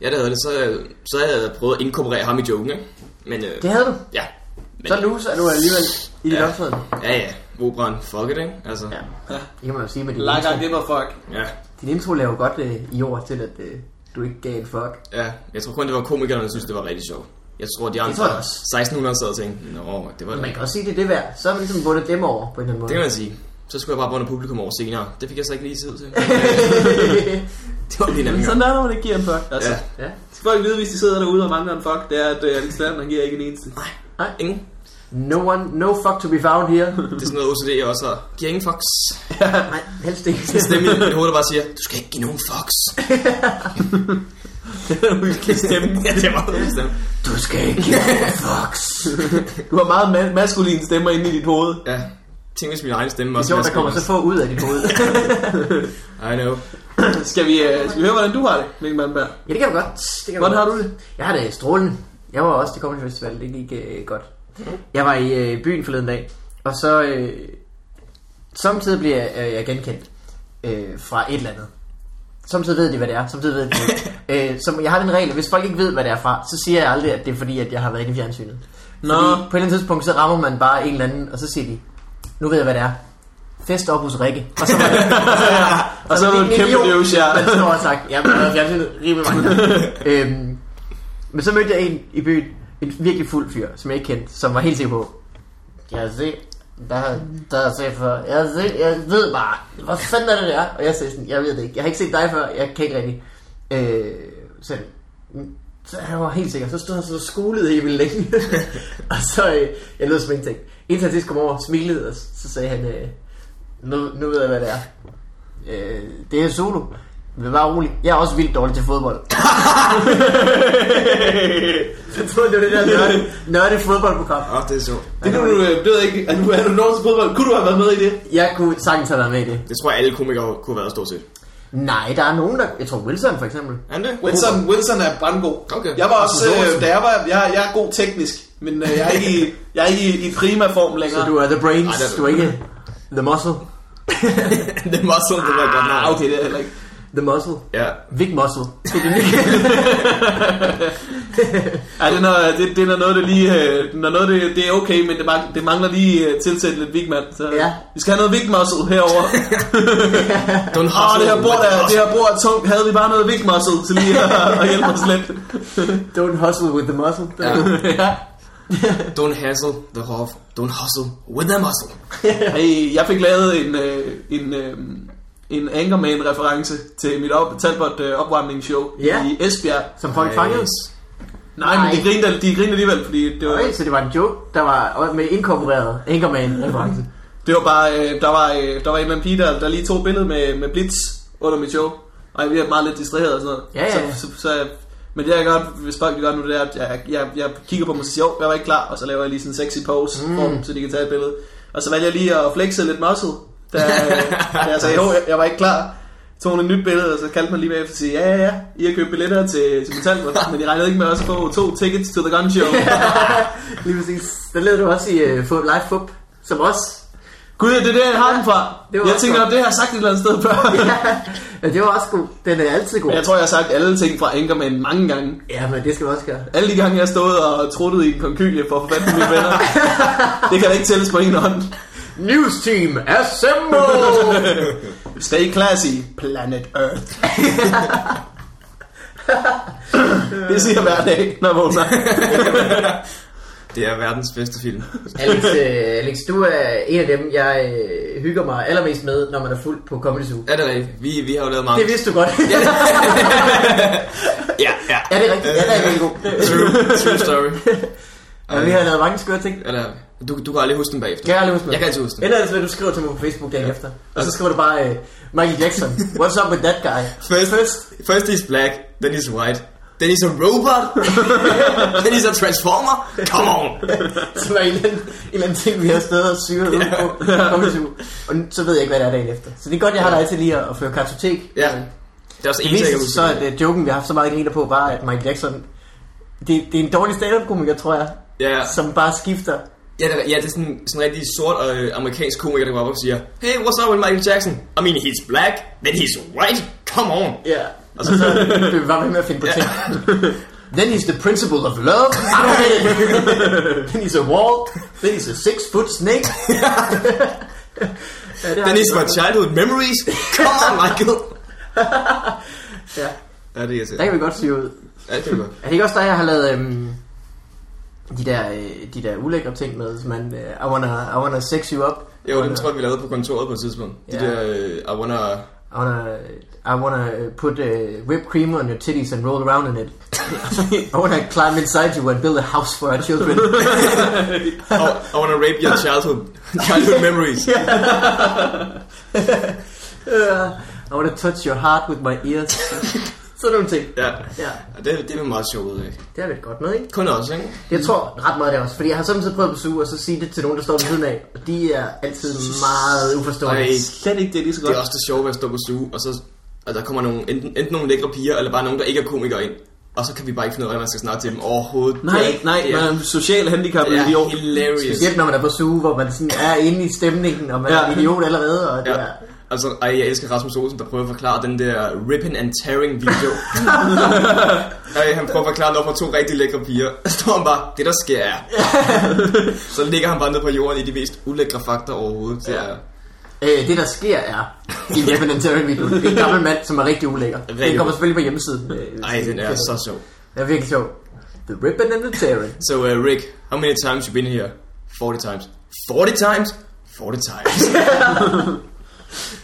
Ja, det havde det, så, øh, så havde jeg prøvet at inkorporere ham i joken, ikke? Men øh, Det havde du. ja. Men, Så loser du alligevel i dit Ja. ja. optræden. Ja, ja. Operan, fuck it, ikke? Altså, Ja. ja. Det kan man jo sige med din Like I intro. give a fuck. ja. Din intro laver godt øh, i år til, at øh, du ikke gav en fuck. Ja, jeg tror kun, det var komikerne, der synes, det var rigtig sjovt. Jeg tror, de andre tror jeg også. 1600 sad og tænkte, nå, det var Men det. man kan også sige, det er det værd. Så har man ligesom vundet dem over på en eller anden Det kan måde. man sige. Så skulle jeg bare bunde publikum over senere. Det fik jeg så ikke lige tid til. det var lige en anden Men gang. sådan er det, når man ikke giver en fuck. Altså, Ja. ja. ja. Skal folk vide, hvis de sidder derude og mangler en fuck, det er, at uh, Alex Lander giver ikke en eneste. Nej, Nej. ingen. No one, no fuck to be found here. Det er sådan noget OCD, jeg også har. Giver ingen fucks. Nej, helst ikke. Det er stemme i mit hoved, der bare siger, du skal ikke give nogen fucks. Hvilken stemme. ja, det er meget min stemme. Du skal ikke give en fucks. Du har meget ma- maskuline stemmer inde i dit hoved. Ja, tænk hvis min egen stemme Det også... er sjovt, der kommer så få ud af dit hoved. I know. Skal vi, uh, skal vi høre, hvordan du har det, Mikkel Malmberg? Ja, det kan jeg godt. Det kan jeg Hvordan godt. har du det? Jeg har det strålende. Jeg var også til Comedy Festival, det gik øh, godt. Jeg var i øh, byen forleden dag, og så øh, samtidig bliver jeg, øh, jeg genkendt øh, fra et eller andet. Samtidig ved de, hvad det er. Samtidig ved de, øh, som, jeg har den regel, at hvis folk ikke ved, hvad det er fra, så siger jeg aldrig, at det er fordi, at jeg har været inde i fjernsynet. Nå. Fordi på et eller andet tidspunkt, så rammer man bare en eller anden, og så siger de, nu ved jeg, hvad det er. Fest op hos Rikke. Og så var det, Og så er du det en en kæmpe idiot. løs, ja. man står og sagt, ja, men jeg har fjernsynet rimelig mange gange. øhm, men så mødte jeg en i byen, en virkelig fuld fyr, som jeg ikke kendte, som var helt sikker på. Jeg se, der, der er set for. Jeg, se, jeg ved bare, hvad fanden er det der? Og jeg sagde sådan, jeg ved det ikke. Jeg har ikke set dig før, jeg kan ikke rigtig. Øh, så, så han var helt sikker. Så stod han så skulet helt vildt længe. og så, øh, jeg lød som ingenting. Indtil han sidst kom over, smilede, og så sagde han, øh, Nu, nu ved jeg, hvad det er. Øh, det er solo. Men bare rolig. Jeg er også vildt dårlig til fodbold. jeg troede, det var det der nørde, nørde fodboldprogram. Åh, det er sjovt. Det kunne du, øh, det ved jeg ikke, er du, er du nået til fodbold? Kunne du have været med i det? Jeg kunne sagtens have været med i det. Det tror jeg, alle komikere kunne have været stort set. Nej, der er nogen, der... Jeg tror Wilson for eksempel. Er han det? Wilson, Wilson er brandgod. Okay. Jeg var også, Rasmus øh, Lauritsen. da jeg var, jeg, jeg er god teknisk, men øh, jeg er ikke, i, jeg er ikke i, i prima form længere. Så du er the Ej, brains, det er- du er ikke the muscle. det er muscle, det var godt nok. Ah, okay, det er heller ikke. The muscle. Ja. Big muscle. Ej, den er, det, den er noget, der lige, øh, den er noget, det, det er okay, men det, mang, det mangler lige øh, tilsætte lidt vigmand. Så Ja. vi skal have noget vigmuscle herover. Don't Åh, det her hustle. bord er, det her bord er tungt. Havde vi bare noget vigmuscle til lige at, at hjælpe os lidt. Don't hustle with the muscle. Ja. ja. Don't hassle the hoff. Don't hustle with the muscle. Hey, jeg fik lavet en, øh, en, øh, en Anchorman-reference til mit op, Talbot øh, opvarmningsshow Ja. i Esbjerg. Som folk fangede. Nej, men Nej. de grinte, de grinte alligevel, fordi det var, Okay, så det var en joke, der var med inkorporeret Anchorman-reference. det var bare, øh, der, var, øh, der var en eller anden pige, der, der lige tog et billede med, med Blitz under mit show. Og jeg bliver meget lidt distraheret og sådan noget. Ja, ja. Så, så, så, jeg- men det jeg godt, hvis folk gør nu, det er, at jeg, jeg, jeg kigger på mig og siger, jo, jeg var ikke klar, og så laver jeg lige sådan en sexy pose mm. for dem, så de kan tage et billede. Og så valgte jeg lige at flexe lidt muscle, da, da jeg sagde, jo, jeg, jeg var ikke klar. Tog hun et nyt billede, og så kaldte man lige bagefter og sagde, ja, ja, ja, I har købt billetter til, til Metalmund, men I regnede ikke med også at få to tickets to the gun show. Lige præcis. Den lavede du også i uh, Live Fup, som også... Gud, det er der, jeg har den fra. det var jeg også tænker, godt. det har jeg sagt et eller andet sted før. ja, det var også god. Den er altid god. Jeg tror, jeg har sagt alle ting fra Anchorman mange gange. Ja, men det skal vi også gøre. Alle de gange, jeg har stået og truttet i en konkylie for at få fat på mine venner. det kan da ikke tælles på en hånd. News Team Assemble! Stay classy, planet Earth. det siger jeg hver dag, når jeg vågner. Det er verdens bedste film. Alex, øh, Alex, du er en af dem, jeg øh, hygger mig allermest med, når man er fuld på Comedy Zoo. Er det rigtigt? Vi, vi har jo lavet mange. Det vidste du godt. Ja, ja. ja, det er rigtigt. Ja, det er rigtig god. True, true story. Ja, vi har lavet mange skøre ting. Eller, du, du kan aldrig huske den bagefter. Kan jeg aldrig huske noget? Jeg kan altid huske den. Eller ellers, hvad du skriver til mig på Facebook dagen efter. Og så skriver du bare, øh, Michael Jackson, what's up with that guy? First, first, first he's black, then he's white, then he's a robot, then he's a transformer. Come on! Så var en eller anden, en eller anden ting, vi har stået og syret ud på Comedy Zoo. Og nu- så ved jeg ikke, hvad der er dagen efter. Så det er godt, jeg har dig til lige at, at føre kartotek. Ja, det er også en Det ting, jeg meste så, husker. at uh, joken, vi har haft så meget griner på, var, at Michael Jackson... Det, det er en dårlig stand-up-komiker, tror jeg, Ja, ja. som bare skifter. Ja, det, er- ja, det er sådan, sådan en rigtig sort øh, amerikansk komiker, der går op og siger, Hey, what's up with Michael Jackson? I mean, he's black, then he's white, come on! Ja. Og så, så bliver vi bare ved med at finde på ting. Then he's the principle of love. I don't get it. Then he's a wall. Then he's a six-foot snake. ja, det har Then vi he's my godt. childhood memories, come on, Michael! Ja, Ja, det er irriterende. der kan vi godt syge ud. Ja, det kan vi godt. Er det ikke også dig, jeg har lavet øhm, de, der, øh, de der ulækre ting med, som man, øh, I, wanna, I wanna sex you up, Jo, den tror jeg, vi lavede på kontoret på et tidspunkt. De Ja. der, øh, I wanna... I wanna, I wanna put uh, whipped cream on your titties and roll around in it. I wanna climb inside you and build a house for our children. I, I wanna rape your childhood, childhood memories. Uh, I wanna touch your heart with my ears. Sådan nogle ting. Ja, Ja, ja det, det er vi meget sjovt ud af. det er lidt godt med, ikke? Kun også, ikke? Jeg tror ret meget af det også, fordi jeg har samtidig prøvet at besøge og så sige det til nogen, der står ved siden af, og de er altid meget uforstående. Ej, Slet ikke, det er lige så det godt. er også det sjove ved at stå på suge, og så og der kommer nogle, enten, enten nogle lækre piger, eller bare nogen, der ikke er komikere ind. Og så kan vi bare ikke finde ud af, hvordan man skal snakke til dem overhovedet. Det Nej, er- nej, det er- man er social handicap Det er idiot. hilarious. Specielt når man er på suge, hvor man sådan er inde i stemningen, og man er Ja. en idiot allerede, og det Ja. er... Altså, ej, jeg elsker Rasmus Olsen, der prøver at forklare den der ripping and tearing video. ej, han prøver at forklare noget for to rigtig lækre piger. Så står han bare, det der sker er. så ligger han bare ned på jorden i de mest ulækre fakta overhovedet. Det er Øh, det der sker er i Lebanon Terry video. Det er en gammel mand, som er rigtig ulækker. Den kommer selvfølgelig på hjemmesiden. øh, Ej, den er så sjov. Det er virkelig sjov. The Ribbon and the Terry. So, uh, Rick, how many times you been here? 40 times. 40 times? 40 times.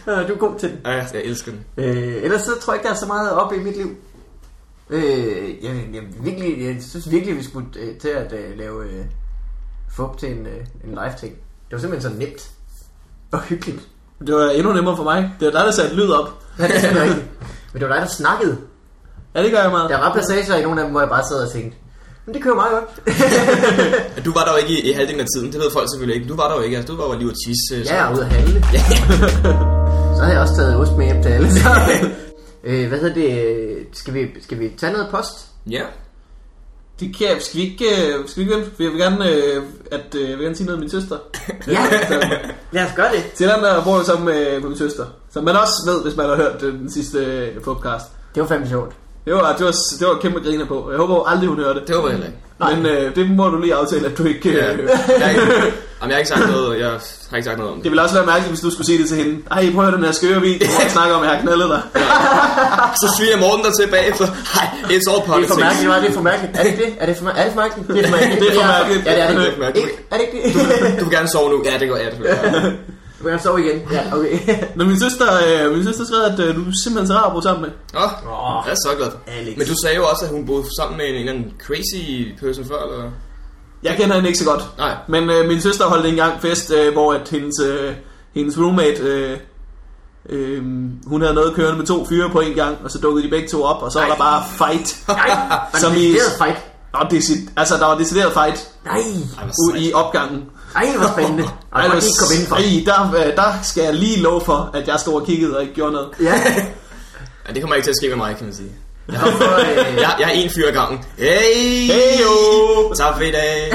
Øh, du er god til den. Ej, jeg elsker den. Øh, ellers så tror jeg ikke, der er så meget op i mit liv. Øh, jeg, jeg, virkelig, jeg synes virkelig, vi skulle øh, til at øh, lave øh, fup til en, øh, en live-ting. Det var simpelthen så nemt og hyggeligt. Det var endnu nemmere for mig. Det var dig, der satte lyd op. Ja, det er selvfølgelig rigtigt. Men det var dig, der snakkede. Ja, det gør jeg meget. Der var passager i nogle af dem, hvor jeg bare sad og tænkte, men det kører meget godt. At Du var der jo ikke i, i halvdelen af tiden, det ved folk selvfølgelig ikke. Du var der jo ikke, altså du var jo lige at tisse. øh, Ja, så- jeg er ude at handle. så havde jeg også taget ost med hjem til alle. Så. øh, hvad hedder det? Skal vi, skal vi tage noget post? Ja. Det kan jeg, skal vi ikke, øh, skal vi ikke vente? For jeg vil gerne, øh, at, øh, jeg vil gerne sige noget om min søster. Ja, lad os gøre det. Til den der bor jeg sammen med, med min søster. Som man også ved, hvis man har hørt øh, den sidste øh, podcast. Det var fandme sjovt. Det var, det var, det var et kæmpe griner på. Jeg håber aldrig, hun hører det. Det håber jeg heller ikke. Men øh, det må du lige aftale, at du ikke... Ja. Øh, Jeg, har ikke- jamen, jeg har ikke sagt noget, jeg har ikke sagt noget om det. Det ville også være mærkeligt, hvis du skulle sige det til hende. Ej, prøv at høre den her skøre video, hvor jeg snakker om, at jeg har knaldet dig. Så sviger Morten der tilbage efter, nej, it's all Det er for politics. mærkeligt, var det er for mærkeligt. Er det ikke det? Er det for mærkeligt? Er det for mærkeligt? Det er for mærkeligt. Det er for mærkeligt. Ja, det er det. Det er for mærkeligt. Ikke? Er det ikke det? Du vil gerne sove nu. Ja, det går jeg selvfølgelig. Ja. Du kan sove igen. Ja, okay. Når min søster, øh, min søster skrev, at øh, du er simpelthen så rar at bo sammen med. Nå, Åh, jeg er så glad. Alex. Men du sagde jo også, at hun boede sammen med en, en eller anden crazy person før, eller hvad? Jeg kender hende ikke så godt. Nej. Men øh, min søster holdt engang fest, øh, hvor at hendes, øh, hendes roommate... Øh, øh, hun havde noget kørende med to fyre på en gang, og så dukkede de begge to op, og så var Ej. der bare fight. Nej, Som som i- i... Det er fight. Og decid- altså, der var decideret fight Nej, Ej, hvor ude sejt. i opgangen. ej, hvor spændende. Og jeg kan ikke komme indenfor. ej, der, øh, der skal jeg lige love for, at jeg stod og kiggede og ikke gjorde noget. Ja, Ja, det kommer ikke til at ske med mig, kan man sige. hvorfor, øh, Jeg, jeg er en fyr ad gangen. Hey! Hey, yo! Tak for i dag.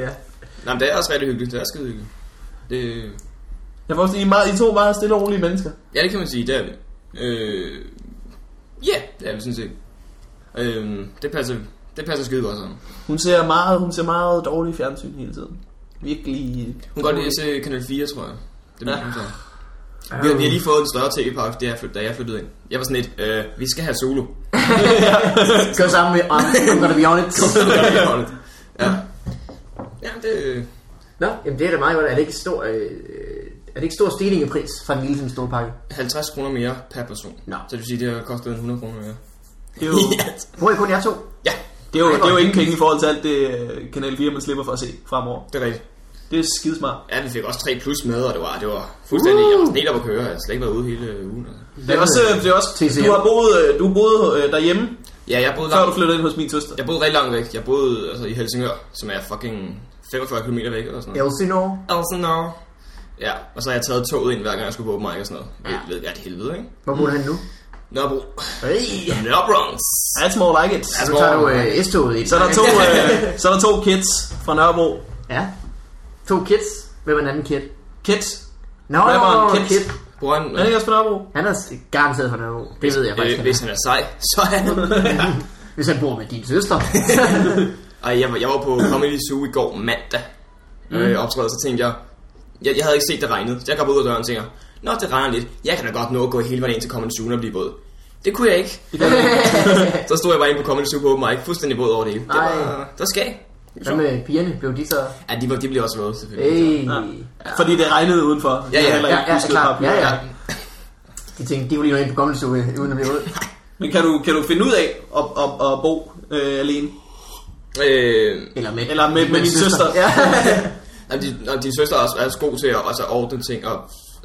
ja. Nej, men det er også rigtig hyggeligt. Det er skide hyggeligt. Det, Jeg får også I, er meget, I to er meget stille og rolige mennesker. ja, det kan man sige. Det er vi. Øh, ja, det er vi sådan set. Øh, det passer, det passer skide godt sammen. Hun ser meget, hun ser meget dårlig fjernsyn hele tiden. Virkelig. Hun kan godt lide at se Kanal 4, tror jeg. Det mener Ja. hun så. Vi har, vi har lige fået en større tv-pakke, da jeg flyt- da jeg flyttede ind. Jeg var sådan lidt, øh, vi skal have solo. Gå sammen med Arne. I'm gonna be on it. ja. ja, det... øh, Nå, jamen det er da meget godt. Er det ikke stor, øh, er det ikke stor stigning i pris fra den lille til den store pakke? 50 kroner mere per person. Nå. Så det vil sige, det har kostet en 100 kroner mere. Det er jo, Bruger I kun jer to? Ja, det er jo, det er jo ingen penge i forhold til alt det øh, Kanal 4, man slipper for at se fremover. det er rigtigt. Det er skidesmart. Ja, vi fik også 3 plus med, og det var, det var fuldstændig... Jeg var Uh! sådan helt op at køre, jeg har slet ikke været ude hele ugen. altså. Det er også, øh, det er også TCM. du har boet, øh, du boede øh, derhjemme, Ja, jeg boede, før du langt, flyttede ind hos min søster. jeg boede rigtig langt væk. Jeg boede altså, i Helsingør, som er fucking 45 km væk eller sådan noget. Elsinore? Altså no. Ja, og så har jeg taget toget ind, hver gang jeg skulle på open mic og sådan noget. Ja. Ved, ved, det helvede, ikke? Hvor bor han nu? Nørrebro. Hey. Nørrebrons. That's more like it. Så tager du øh, S-toget i Så er der to, øh, så er der to kids fra Nørrebro. Ja. To kids. Hvem er den anden kid? Kids? Nå, Rapperen no, Kid. kid. Bruger han, Er det ikke også fra Nørrebro? Han er s- garanteret fra Nørrebro. Det ved jeg faktisk. øh, hvis han er sej, så er han. Hvis han bor med din søster. Ej, jeg, var- jeg var på Comedy Zoo i går mandag Mm. øh, optræde, så tænkte jeg, jeg, jeg havde ikke set det regnede. Så jeg kom ud af døren og tænker, Nå, det regner lidt. Jeg kan da godt nå at gå hele vejen ind til Comedy Zoo og blive våd. Det kunne jeg ikke. så stod jeg bare inde på Comedy Zoo på open mic, fuldstændig våd over det hele. Det Nej. var, det var skæg. Hvad med pigerne? Blev de så... Ja, de, var, de blev også våde, selvfølgelig. Hey. Ja. Fordi det regnede udenfor. Ja, ja, Jeg heller Ja, ikke ja, husket klart. paraplyen. Ja, ja. De tænkte, de kunne lige nå ind på gammel uden at blive ud. Men kan du, kan du finde ud af at, at, at bo øh, alene? Øh, Eller med, Eller med, med din søster? Ja. Jamen, din, og din søster er også, er også god til at også at ordne ting, og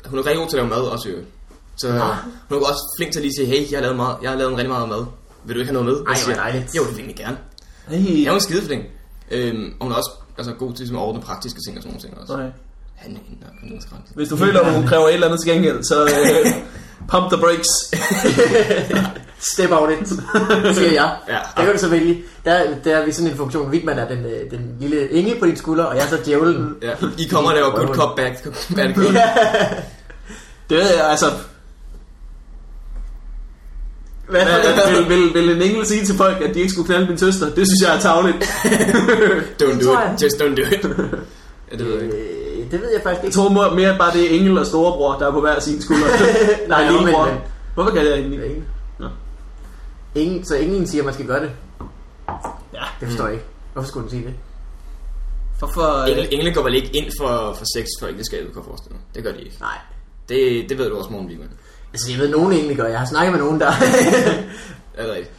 hun er rigtig god til at lave mad også, jo. Så hun er også flink til at lige sige, hey, jeg har lavet, meget, jeg har lavet en rigtig meget mad. Vil du ikke have noget med? Ej, Jeg siger, hvor dejligt. Jo, det vil jeg gerne. Hey. Ja, hun er skideflink. Øhm, og hun er også altså, god til ligesom, at ordne praktiske ting og sådan nogle ting også. Okay. Han er en, der er en skræmt. Hvis du føler, at hun kræver et eller andet til gengæld, så øh, pump the brakes. Step out it, siger jeg. Ja. Der kan du så vælge. Der, der er vi sådan en funktion. Vigman er den, øh, den lille engel på din skulder, og jeg er så djævlen. Ja, I kommer og laver good cop, bad cop, bad cop. Det ved jeg, altså... Hvad Hvad, er det? vil, vil, vil en engel sige til folk, at de ikke skulle knalde min søster? Det synes jeg er tavligt. Don't do tror jeg. it. Just don't do it. Ja, det ved jeg ikke. Øh, det ved jeg faktisk Jeg ikke. tror må- mere, at bare det er engel og storebror, der er på hver sin skulder. Nej, Og lillebror. omvendt, men- Hvorfor kalder jeg hende engel? Nå. Ingen, så ingen siger, at man skal gøre det. Ja, Det Mm. forstår jeg ikke. Hvorfor skulle den sige det? hvorfor... Øh. Engel- Engle går vel ikke ind for, for sex for ægteskabet, kan jeg forestille mig. Det gør de ikke. Nej. Det, det ved du også, morgen Bigman. Altså, jeg ved, nogen egentlig gør. Jeg har snakket med nogen, der Er det rigtigt?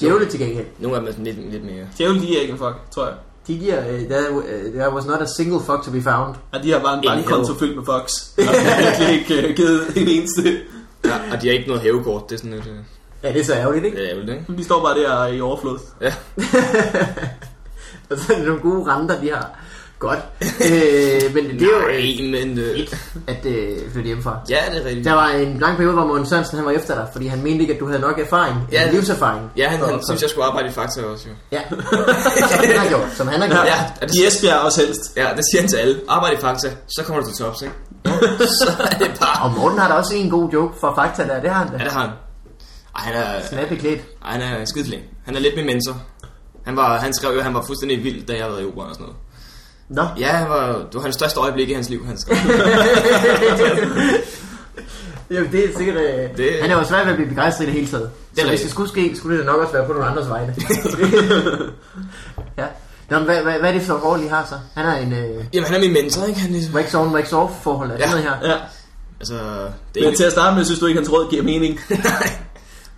djævle til gengæld. Nogle af dem er sådan lidt, lidt mere... Djævel, de er ikke en fuck, tror jeg. De giver, uh, there, uh, there was not a single fuck to be found. Ja, de har bare en Ingen bankkonto hævd. fyldt med Fox. Og de har virkelig ikke øh, givet en eneste. Ja, og de har ikke noget hævekort, det er sådan lidt... Øh, Ja, det er så ærgerligt, ikke? det er ærgerligt, ikke? De står bare der i overflod. Ja. Og så er det nogle gode renter, de har. Godt. Øh, men det er jo øh, Nej, men... Øh, fedt, at øh, flytte hjemmefra. ja, det er rigtigt. Der var en lang periode, hvor Morten Sørensen han var efter dig, fordi han mente ikke, at du havde nok erfaring. Ja. Ja. Livserfaring. Ja, han, for- han for- synes, jeg skulle arbejde i Fakta også, jo. Ja, som han har gjort. Som han har gjort. Ja, er det, De Esbjerg også helst. ja, det siger han til alle. Arbejde i Fakta, så kommer du til tops, ikke? så er det bare... Og Morten har da også en god joke fra Fakta der. Det har han Ja, da. det har han. Ej, han er, Snappeklædt. ej, han er skidtling. Han er lidt min mentor. Han, var, han skrev jo, at han var fuldstændig vild, da jeg var i operan og sådan noget. Nå, Ja, han var, det var hans største øjeblik i hans liv, han skrev. Jamen, det er sikkert... Øh, Det- det... Han er jo svært ved at blive begejstret i det hele taget. Det så hvis Det er rigtigt. det skulle ske, skulle det nok også være på nogle andres vegne. ja. Nå, men hvad, hvad, hvad er det for et forhold, I har så? Han har en øh, Jamen, han er min mentor, ikke? Han er, wax on, wax off forhold. Er det Ja. noget her? Ja. altså, det er Men til ikke, at starte med, synes du ikke, hans råd giver mening.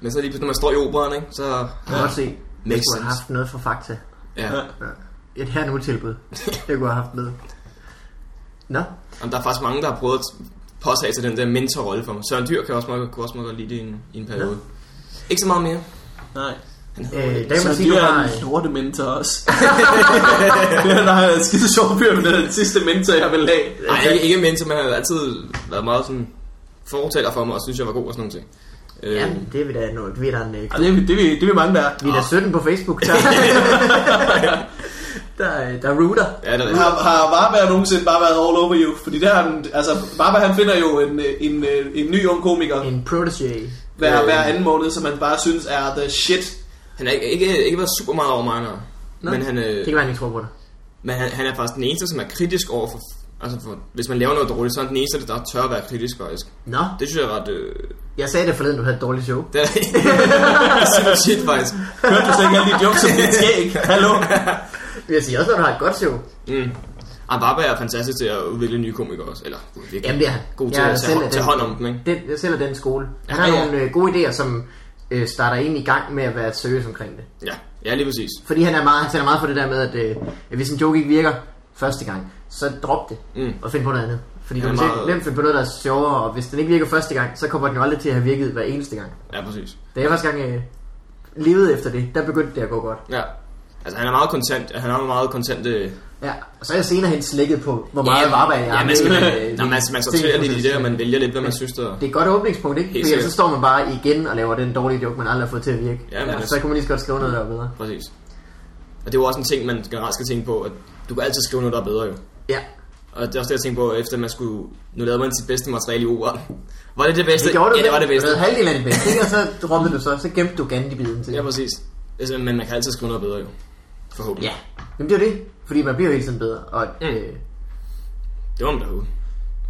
men så lige pludselig, når man står i operan, ikke? Så Jeg kan godt se, at makes du har sense. haft noget fra Fakta. Ja. Ja. Ja. Et her nu tilbud. Jeg kunne have haft med. Nå, Jamen, der er faktisk mange, der har prøvet at påtage sig den der mentorrolle for mig. Søren Dyr kan også meget, kunne også meget godt lide det i en, i en periode. Ikke så meget mere. Nej. Han øh, hedder, der kan man Så det sige, du er har... en lorte mentor også. det er der er skide sjov fyr, men det er den sidste mentor, jeg vil have. Nej, ikke, ikke mentor, men han har altid været meget sådan fortaler for mig, og synes, jeg var god og sådan noget. Øh, Ja, det er vi da noget. Vi er da en øh, Ej, det, er vi- det, er vi- det er vi mange, der er. Vi er da 17 på Facebook. Der, der, er- øh, der er router. ja, det er rigtigt. Har, har Varberg nogensinde bare været all over you? Fordi der er han, altså, Varberg han finder jo en, øh, en, øh, en ny ung komiker En protege. hver, Øh. hver anden måned, som man bare synes er the shit. Han har ikke, ikke, ikke været super meget over mig, nej. Nå. Men, han, Det øh, kan være, han ikke tror på dig. men han, han er faktisk den eneste, som er kritisk over for... Altså, for, hvis man laver noget dårligt, så er han den eneste, der tør at være kritisk, faktisk. Nå, Det synes jeg er ret... Øh, jeg sagde det forleden, du havde et dårligt show. det er det er super shit, faktisk. Hørte du slet ikke alle de jokes om dit skæg? Hallo? Jeg siger også, at du har et godt show. Mm. Ah, Varberg er fantastisk til at udvikle nye komikere også. Eller, udvikle. Jamen, det er han. God til Jeg er at selv tage, af tage den- hånd om dem, ikke? Den, jeg selv er den skole. Han Ja, har ja. nogle øh, gode idéer, som øh, starter ind i gang med at være seriøs omkring det. Ja, ja lige præcis. Fordi han er meget, han taler meget for det der med, at, øh, at hvis en joke ikke virker første gang, så drop det Mm. og find på noget andet. Fordi du Han er kan meget... meget- nemt finde på noget, der er sjovere, og hvis den ikke virker første gang, så kommer den jo aldrig til at have virket hver eneste gang. Ja, præcis. Da jeg første gang øh, levede efter det, der begyndte det at gå godt. Ja. Altså, han er meget kontant. Han har meget kontante... Ja, og så er jeg senere hen slækket på, hvor meget ja, arbejde jeg Ja, har men, med, man, øh, man, man, man sorterer lidt i det, og man vælger lidt, hvad man synes, der... Det er et godt åbningspunkt, ikke? Helt Fordi ellers så sikkert. står man bare igen og laver den dårlige joke, man aldrig har fået til at virke. Ja, men altså- og det- så kan man lige så godt skrive noget, der er bedre. Præcis. Og det er jo også en ting, man generelt skal tænke på, at du kan altid skrive noget, der er bedre, jo. Ja, Og det er også det, jeg tænkte på, efter man skulle... Nu lavede man sit bedste materiale i operan. Var det det bedste? det gjorde du. ja, det var det bedste. Du havde halvdelen af det bedste, ikke? Og så droppede du så, så gemte du gandibiden til. Ja, præcis. Altså, Men man kan altid skrive noget bedre, jo. Forhåbentlig. ja. Jamen det er jo det, fordi man bliver jo hele tiden bedre. Og, Mm. øh, Det var man derude.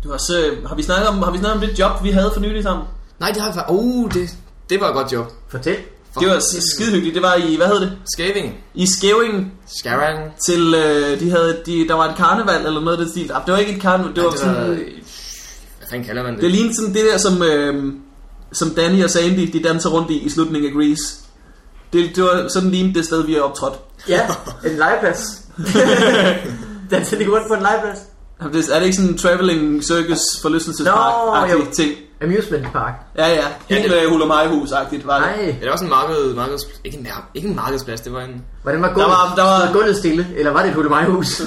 Du har, så, øh, har, vi snakket om, har vi snakket om det job, vi havde for nylig sammen? Nej, det har jeg faktisk... Uh, det, det var et godt job. fortæl. Fuck. Det var skide hyggeligt. Det var i, hvad hed det? Skæving. I Skævingen Skæving. til, øh, de havde, de, der var et karneval eller noget af den stil. Ah, Det var ikke et karneval, det var, det sådan... var... Hvad fanden kalder man det? Det lignede sådan det der, som, øh, som Danny og Sandy, de danser rundt i i slutningen af Grease. Det, det var sådan lignede det sted, vi er optrådt. Ja, en legeplads. Den tager lige rundt på en legeplads. Er det er det ikke sådan en traveling circus Nå, jo. forlystelsespark-agtig ting? Amusement park. Ja, ja, helt det- ja, hulamajhus-agtigt var det. Nej, Ja, det var sådan en marked, markeds, ikke, en, mar- ikke en markedsplads, det var en... hvordan var Der gulvet? var- der var- Stod gulvet stille, eller var det et hulemajhus?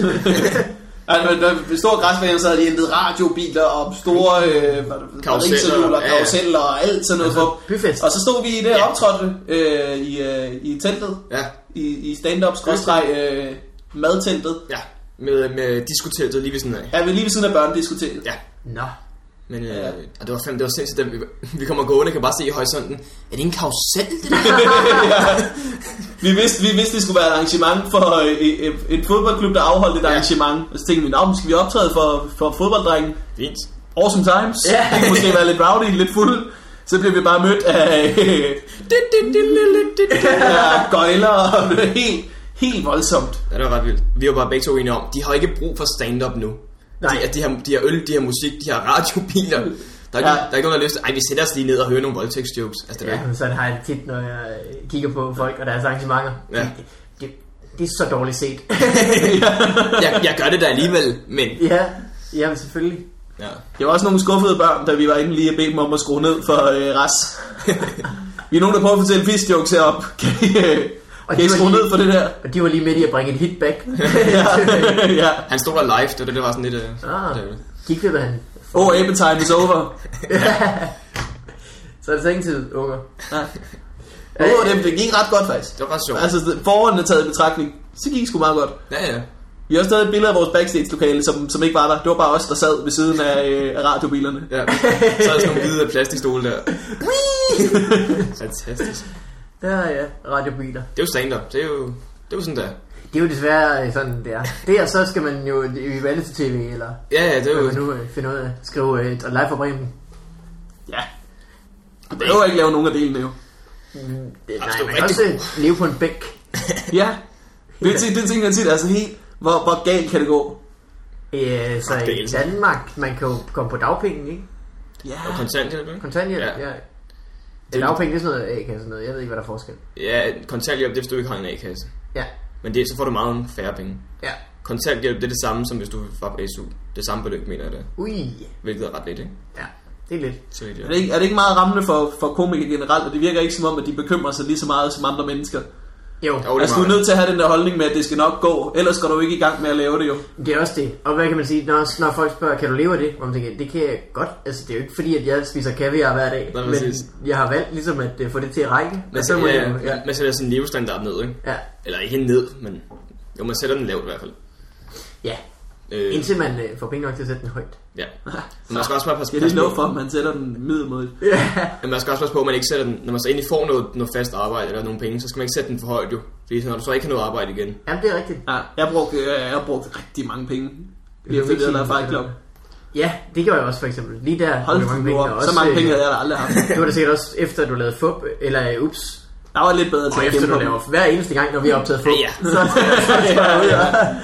Altså, der var store græsbaner, så havde de hentet radiobiler og store øh, Karruseller, karuseller, ja, ja. karuseller og alt sådan noget. for. Byfest. Og så stod vi i det optrådte øh, i, øh, i teltet, Ja, i, i stand-up skråstreg øh, madteltet. ja. Med, med diskoteltet lige ved siden af. Ja, vi er lige ved siden af børnediskoteket. Ja. Nå, Men øh, Ja. ja. Og det var fandme, det var sindssygt, da vi, vi kommer gående, kan bare se i horisonten, er det en karusel, det der? Vi vidste, vi vidste, det skulle være et arrangement for øh, øh, et fodboldklub, der afholdt et Ja. arrangement. Og så tænkte vi, nå, men skal vi optræde for, for fodbolddrengen? Fint. Awesome Times. Ja. Det kunne måske være lidt rowdy, lidt fuld. Så bliver vi bare mødt af øh, Det, det, det, det, det, det, det. ja, gøjler og det er helt, helt voldsomt. Ja, det var ret vildt. Vi var bare begge to enige om, de har ikke brug for stand-up nu. Nej. De, de, har, de har øl, de har musik, de har radiobiler. Der er, Ja. ja. der er ikke nogen, der har lyst til, ej, vi sætter os lige ned og hører nogle voldtægtsjokes. Altså, det er Ja, sådan har jeg det tit, når jeg øh, kigger på folk og deres arrangementer. Ja. Det, det, det er så dårligt set. Jeg, jeg gør det da alligevel, men... ja, jamen selvfølgelig. Ja. Jeg var også nogle skuffede børn, da vi var inde lige og bedte dem om at skrue ned for øh, ras. vi er nogen, der prøver at fortælle fisk jokes herop. Kan I, øh, Og kan I de var skrue lige- ned for det der? Og de var lige midt i at bringe et hit back. ja. ja. Han stod der live, det var det, der var sådan lidt... Øh, Ah. det var det. Gik det, hvad han... Oh, Apple time is over. Så er det så ingen tid, unger. Nej. Nogle af dem, det gik ret godt faktisk. det var ret sjovt. Altså, forhånden er taget i betragtning, så gik det sgu meget godt. Ja, ja. Vi har også taget et billede af vores backstage-lokale, som, som ikke var der. Det var bare os, der sad ved siden af, øh, af radiobilerne. ja. Så er der sådan nogle hvide plastikstole der. Fantastisk. Ja, ja, radiobiler. Det er jo stand-up. Det er jo, det er jo sådan der. Det er jo desværre øh, sådan, det er. Det er, så skal man jo i reality tv, eller Ja, ja, det er jo... hvad man nu øh, finder ud af. Skrive øh, live fra Bremen. Ja. Du behøver ikke lave nogen af delene jo. Det, nej, det er jo man kan rigtig Øh, også øh, leve på en bænk. Ja. Det, det, det tænker jeg tit, altså helt, hvor, hvor galt kan det gå? Øh, så Ej, det er i altså- Danmark, man kan jo komme på dagpenge, ikke? Ja. Og kontanthjælp, ikke? Kontanthjælp, Ja. ja. ja. Det er dagpenge, det er sådan noget A-kasse sådan noget. Jeg ved ikke, hvad der er forskel. Ja, kontanthjælp, det er, hvis du ikke har en A-kasse. Ja, Men det, så får du meget færre penge. ja. Kontanthjælp, det er det samme, som hvis du var på SU. Det samme beløb, mener jeg det. er. Ui, Hvilket er ret lidt, ikke? ja. Det er lidt. Så vidt jeg. Er det, ikke, er det ikke meget rammende for, for komikere generelt, og det virker ikke som om, at de bekymrer sig lige så meget som andre mennesker? Jo, Jo, det Altså, du er er meget. nødt til at have den der holdning med, at det skal nok gå, ellers går du ikke i gang med at lave det jo. det er også det. Og hvad kan man sige, når, når folk spørger, kan du leve af det? Hvor man tænker, det kan jeg godt. Altså, det er jo ikke fordi, at jeg spiser kaviar hver dag. Nej, men præcis. jeg har valgt ligesom at øh, få det til at række. Man og så må sætter, jeg ja, jo- ja. man- man sætter sin levestandard ned, ikke? Ja, Eller ikke ned, men... Jo, man sætter den lavt i hvert fald. ja. Øh, Indtil man øh, får penge nok til at sætte den højt. ja. Men man skal også bare passe, Jeg er lige passe lov for, på, at man sætter den middelmodigt. men man skal også passe på, at man ikke sætter den... Når man så endelig får noget, noget fast arbejde eller nogle penge, så skal man ikke sætte den for højt, jo. Fordi når du så ikke har noget arbejde igen... Jamen, det er rigtigt. Ja, jeg har brugt, øh, jeg har brugt rigtig mange penge. er Lige jo efter ikke det, der sådan, er at- klub. Ja, det gjorde jeg også for eksempel. Lige der Hold hvor nu op, så mange penge øh, havde jeg da aldrig haft. øh, Du har da sikkert også efter, at du lavede FUP, eller øh, UPS, Der var lidt bedre til og at efter kæmpe du om. laver hver eneste gang, når vi har optaget FUP, Ja. så tager jeg ud og-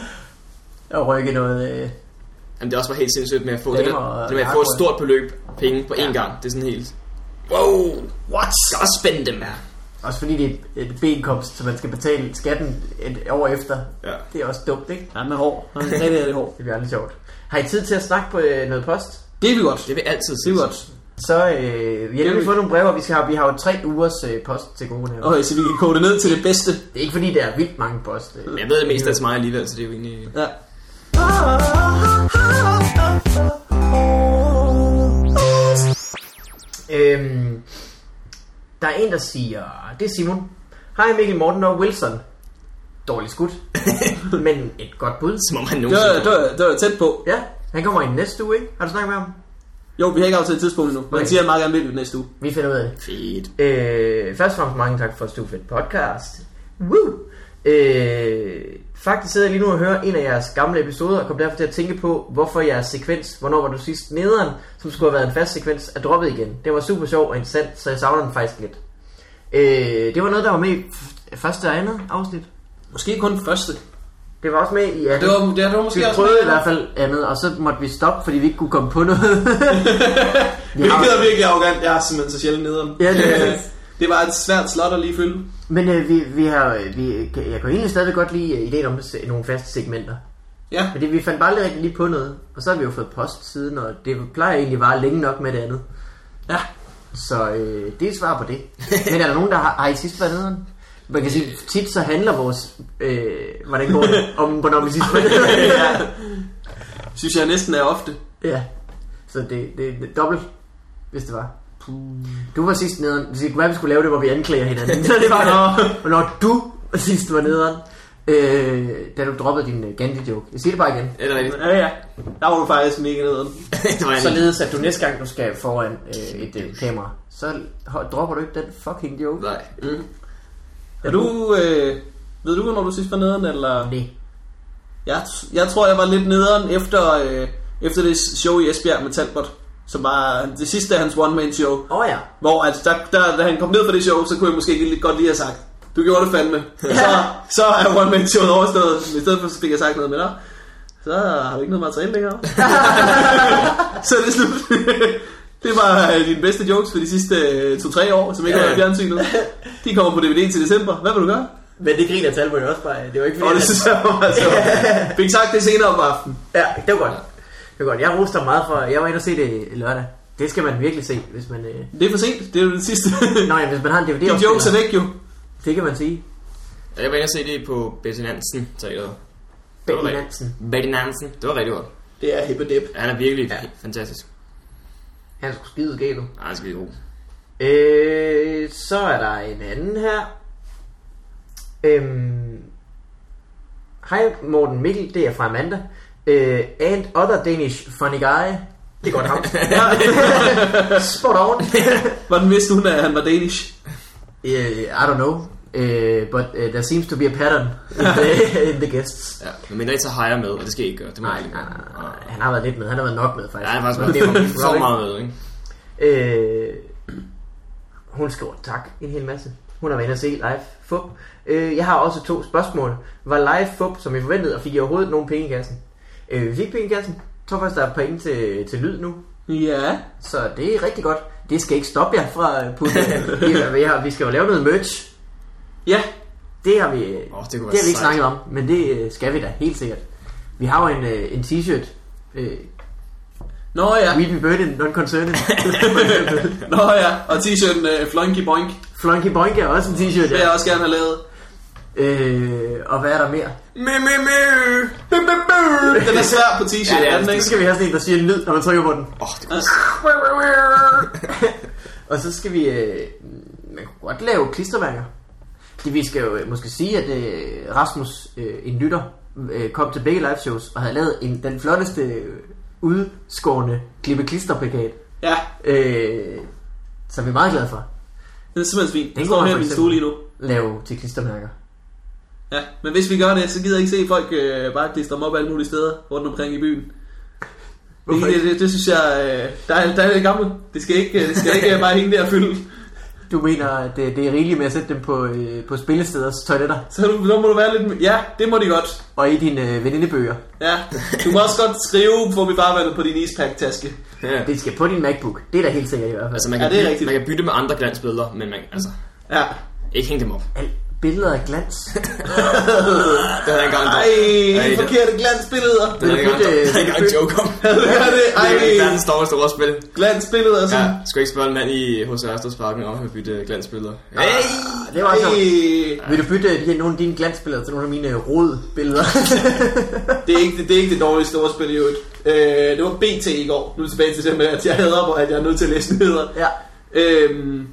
og rykke noget... Øh, Jamen, det er også bare helt sindssygt med at få, det, Damer der, og det med at få et narko. stort beløb penge på én gang. Det er sådan helt... Wow! What? Skal også spænde dem. Ja. Også fordi det er et B-indkomst, så man skal betale skatten et år efter. Ja. Det er også dumt, ikke? Ja, med hår. Han er rigtig, rigtig hår. Det bliver aldrig sjovt. Har I tid til at snakke på øh, noget post? Det er vi godt. Det vil altid Det er sige. vi godt. Så øh, vi har nemlig fået nogle breve, og vi, skal have, vi har jo tre ugers øh, post til gode her. Okay, så vi kan kode det ned til det bedste. Det er ikke fordi, der er vildt mange post. Øh. Men jeg ved det meste er til mig alligevel, så det er jo egentlig... Ja. Øhm, der er en, der siger, det er Simon. Hej Mikkel Morten og Wilson. Dårligt skudt, men et godt bud. Som om han Det var, nogensinde... det, var, det var tæt på. Ja, han kommer i næste uge, ikke? Har du snakket med ham? Jo, vi har ikke aftalt tidspunkt endnu. Man Okay. siger, at han meget gerne vil det næste uge. Vi finder ud af det. Fedt. Øh, først og fremmest mange tak for Stufet Podcast. Woo! Øh, faktisk sidder jeg lige nu og hører en af jeres gamle episoder, og kom derfor til at tænke på, hvorfor jeres sekvens, hvornår var du sidst nederen, som skulle have været en fast sekvens, er droppet igen. Det var super sjov og interessant, så jeg savner den faktisk lidt. Øh, det var noget, der var med i f- første og andet afsnit. Måske kun første. Det var også med i andet. Det var, det, det var måske vi også... prøvede i hvert fald andet, og så måtte vi stoppe, fordi vi ikke kunne komme på noget. vi Hvilket er har, virkelig arrogant. Jeg er simpelthen så sjældent nederen. Ja, det er Øh, det. det var et svært slot at lige fylde. men øh, vi, vi har, øh, vi, kan- jeg kan egentlig stadig godt lide øh, ideen om se- nogle faste segmenter. Ja. Fordi vi fandt bare aldrig rigtig lige på noget, og så har vi jo fået post siden, og det plejer egentlig bare længe nok med det andet. Ja. Så øh, det er svar på det. Men er der nogen, der har, har I sidst været nederen? Man kan sige, tit så handler vores, øh, hvordan går det, om hvornår vi sidst var nederen. ja. Synes jeg næsten er ofte. Ja, så det, det er dobbelt, hvis det var. Du var sidst nederen. Det kunne være, vi skulle lave det, hvor vi anklager hinanden. Så det var, når, når du sidst var nederen, øh, da du droppede din øh, Gandhi-joke. Jeg siger det bare igen. Er det rigtigt? Ja, ja. Der var du faktisk mega nederen. det var jeg Således at du næste gang du skal foran øh, et øh, kamera Så ho- dropper du ikke den fucking joke Nej. Er du... Øh, ved du, hvornår du sidst var nederen, eller... Nej Jeg, jeg tror, jeg var lidt nederen efter, øh, efter det show i Esbjerg med Talbot, som var det sidste af hans one-man-show. Åh oh, ja Hvor at der, der, da han kom ned fra det show, så kunne jeg måske lige, godt lige have sagt, du gjorde det fandme. Så, så er one man showet overstået. Men i stedet for så fik jeg sagt noget med dig. Så har du ikke noget materiale længere. så er det slut. det var øh, dine bedste jokes for de sidste øh, 2-3 år, som ikke har været i fjernsynet. De kommer på DVD til december. Hvad vil du gøre? Men det griner Talbot jo også bare. af. Det var ikke Og fordi, det han- synes jeg var meget sjovt. Fik sagt det senere om aftenen. Ja, det var godt. Det var godt. Jeg roste ham meget for... Jeg var inde og se det lørdag. Det skal man virkelig se, hvis man... Øh... Det er for sent. Det er jo den sidste. Nå ja, hvis man har en dvd De jokes er opspiller. væk jo. Det kan man sige. Ja, Jeg var inde og se det på Betty Nansen teateret. Det var Betty rigtig- Nansen. Betty Nansen. Det var rigtig godt. Det er hip og dip. Ja, han er virkelig Ja. ja. fantastisk. Han er sgu skide gæld. Ej, han er skide god. Øh, så er der en anden her. Øhm, Hej Morten Mikkel, det er fra Amanda. Øh, and other Danish funny guy. Det er godt ham. Spot on. Hvordan vidste hun, at han var danish? Øh, I don't know. Øh, but uh, there seems to be a pattern in the, in the guests. Ja, men mindre I tager hejre med, og det skal I ikke gøre. Det må Nej, I ikke nej, gøre. nej, nej. Han har været lidt med. Han har været nok med, Ja, faktisk. han er faktisk Men det er jo- for meget med, ikke? Øh, hun skriver tak en hel masse. Hun har været inde og se live fup. Øh, jeg har også to spørgsmål. Var live fup, som jeg forventede, og fik I overhovedet nogen penge i kassen? Øh, vi fik penge i kassen. Jeg tror faktisk, der er penge til, til lyd nu. Ja. Så det er rigtig godt. Det skal ikke stoppe jer fra at putte. vi, har, vi skal jo lave noget merch. Ja. Det har vi, oh, det det kunne være har vi ikke sejt. snakket om, men det øh, skal vi da helt sikkert. Vi har jo en, øh, en t-shirt. Øh, Nå ja. We be burdened, non-concerned. Nå ja. Og t-shirten øh, Flunky Boink. Flunky Boink er også en t-shirt, Det ja. vil jeg også gerne have lavet. Øh, og hvad er der mere? Me, me, me. Bim, bim, bim. Den er svær på t-shirt. Ja, det er er den det. Så ikke? skal vi have sådan en, der siger en lyd, når man trykker på den. Åh, det Og så skal vi... Øh, man kunne godt lave klisterværker. Det vi skal jo øh, måske sige, at øh, Rasmus, øh, en lytter, øh, kom til begge live shows og havde lavet en, den flotteste øh, udskårende klippe klisterplakat. Ja. Øh, som vi er meget glade for. Det er simpelthen fint. Den kunne står man her i for min eksempel- stue lige nu. Lave til klistermærker. Ja. Men hvis vi gør det, så gider jeg ikke se folk øh, bare klistre dem op alle mulige steder rundt omkring i byen. Det, Hvorfor det, det, det, synes jeg, øh, der, er, der er det gamle. Det skal ikke, øh, det skal ikke øh, bare hænge der og fylde. Du mener, at det, det er rigeligt med at sætte dem på, øh, på spillesteders toiletter Så du, så må du være lidt... Ja, det må de godt. og i dine øh, venindebøger. Ja, du må også godt skrive, får vi bare vandet på din ispack-taske. Ja. Det skal på din MacBook. Det er da helt sikkert i hvert fald. Altså, man Ja, kan, det er bytte, rigtigt. man kan bytte med andre glansbilleder, men man, altså, Ja. ikke hænge dem op. Al billeder af glans. Det havde jeg engang Ej, Ej, helt det- forkerte glansbilleder. Det havde jeg engang- Vil du bytte- det havde jeg engang en joke om. Det er det. Ej, Det er verdens dårligste ordspil. glansbilleder. Ja, Sådan. skulle ikke spørge en mand i hos Ørstedsparken om at bytte glansbilleder. Hey! Ah, det var Ej, sjovt. Vil du bytte de her, nogle af dine glansbilleder til nogle af mine rodbilleder? det er ikke det, det, er ikke det dårlige store spil i øvrigt. Øh, det var BT i går. Nu er vi tilbage til det med, at jeg hader, hvor at jeg er nødt til at læse nyheder. ja. Øhm,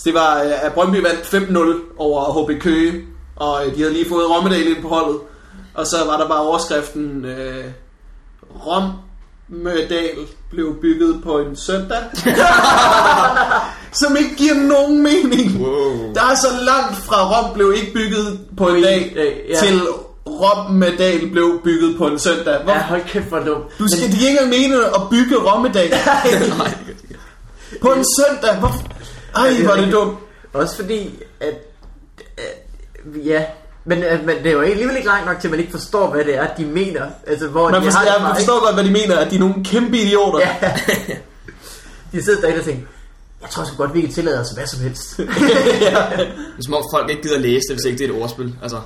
så det var, øh, at Brøndby vandt 5-0 over HB Køge, og øh, de havde lige fået Rommedal ind på holdet. Og så var der bare overskriften, øh, Rommedal blev bygget på en søndag, som ikke giver nogen mening. Wow. Der er så langt fra Rom blev ikke bygget på en dag, dag, øh, ja. til Rommedal blev bygget på en søndag. Hvor, ja, hold kæft for dumt. du skal de er ikke engang mene at bygge Rommedal på en søndag. Hvor... Ej, det er hvor er det rigtigt. dumt. Også fordi, at... at ja, men, at, men det er jo alligevel ikke langt nok til, at man ikke forstår, hvad det er, de mener. Altså, hvor Man de forstår, har det jeg fra, ikke? forstår godt, hvad de mener, at de er nogle kæmpe idioter. Ja. de sidder derinde og tænker, jeg tror sgu godt, vi kan tillade os hvad som helst. Det er som om folk ikke gider læse det, hvis ikke det er et ordspil. Altså, man,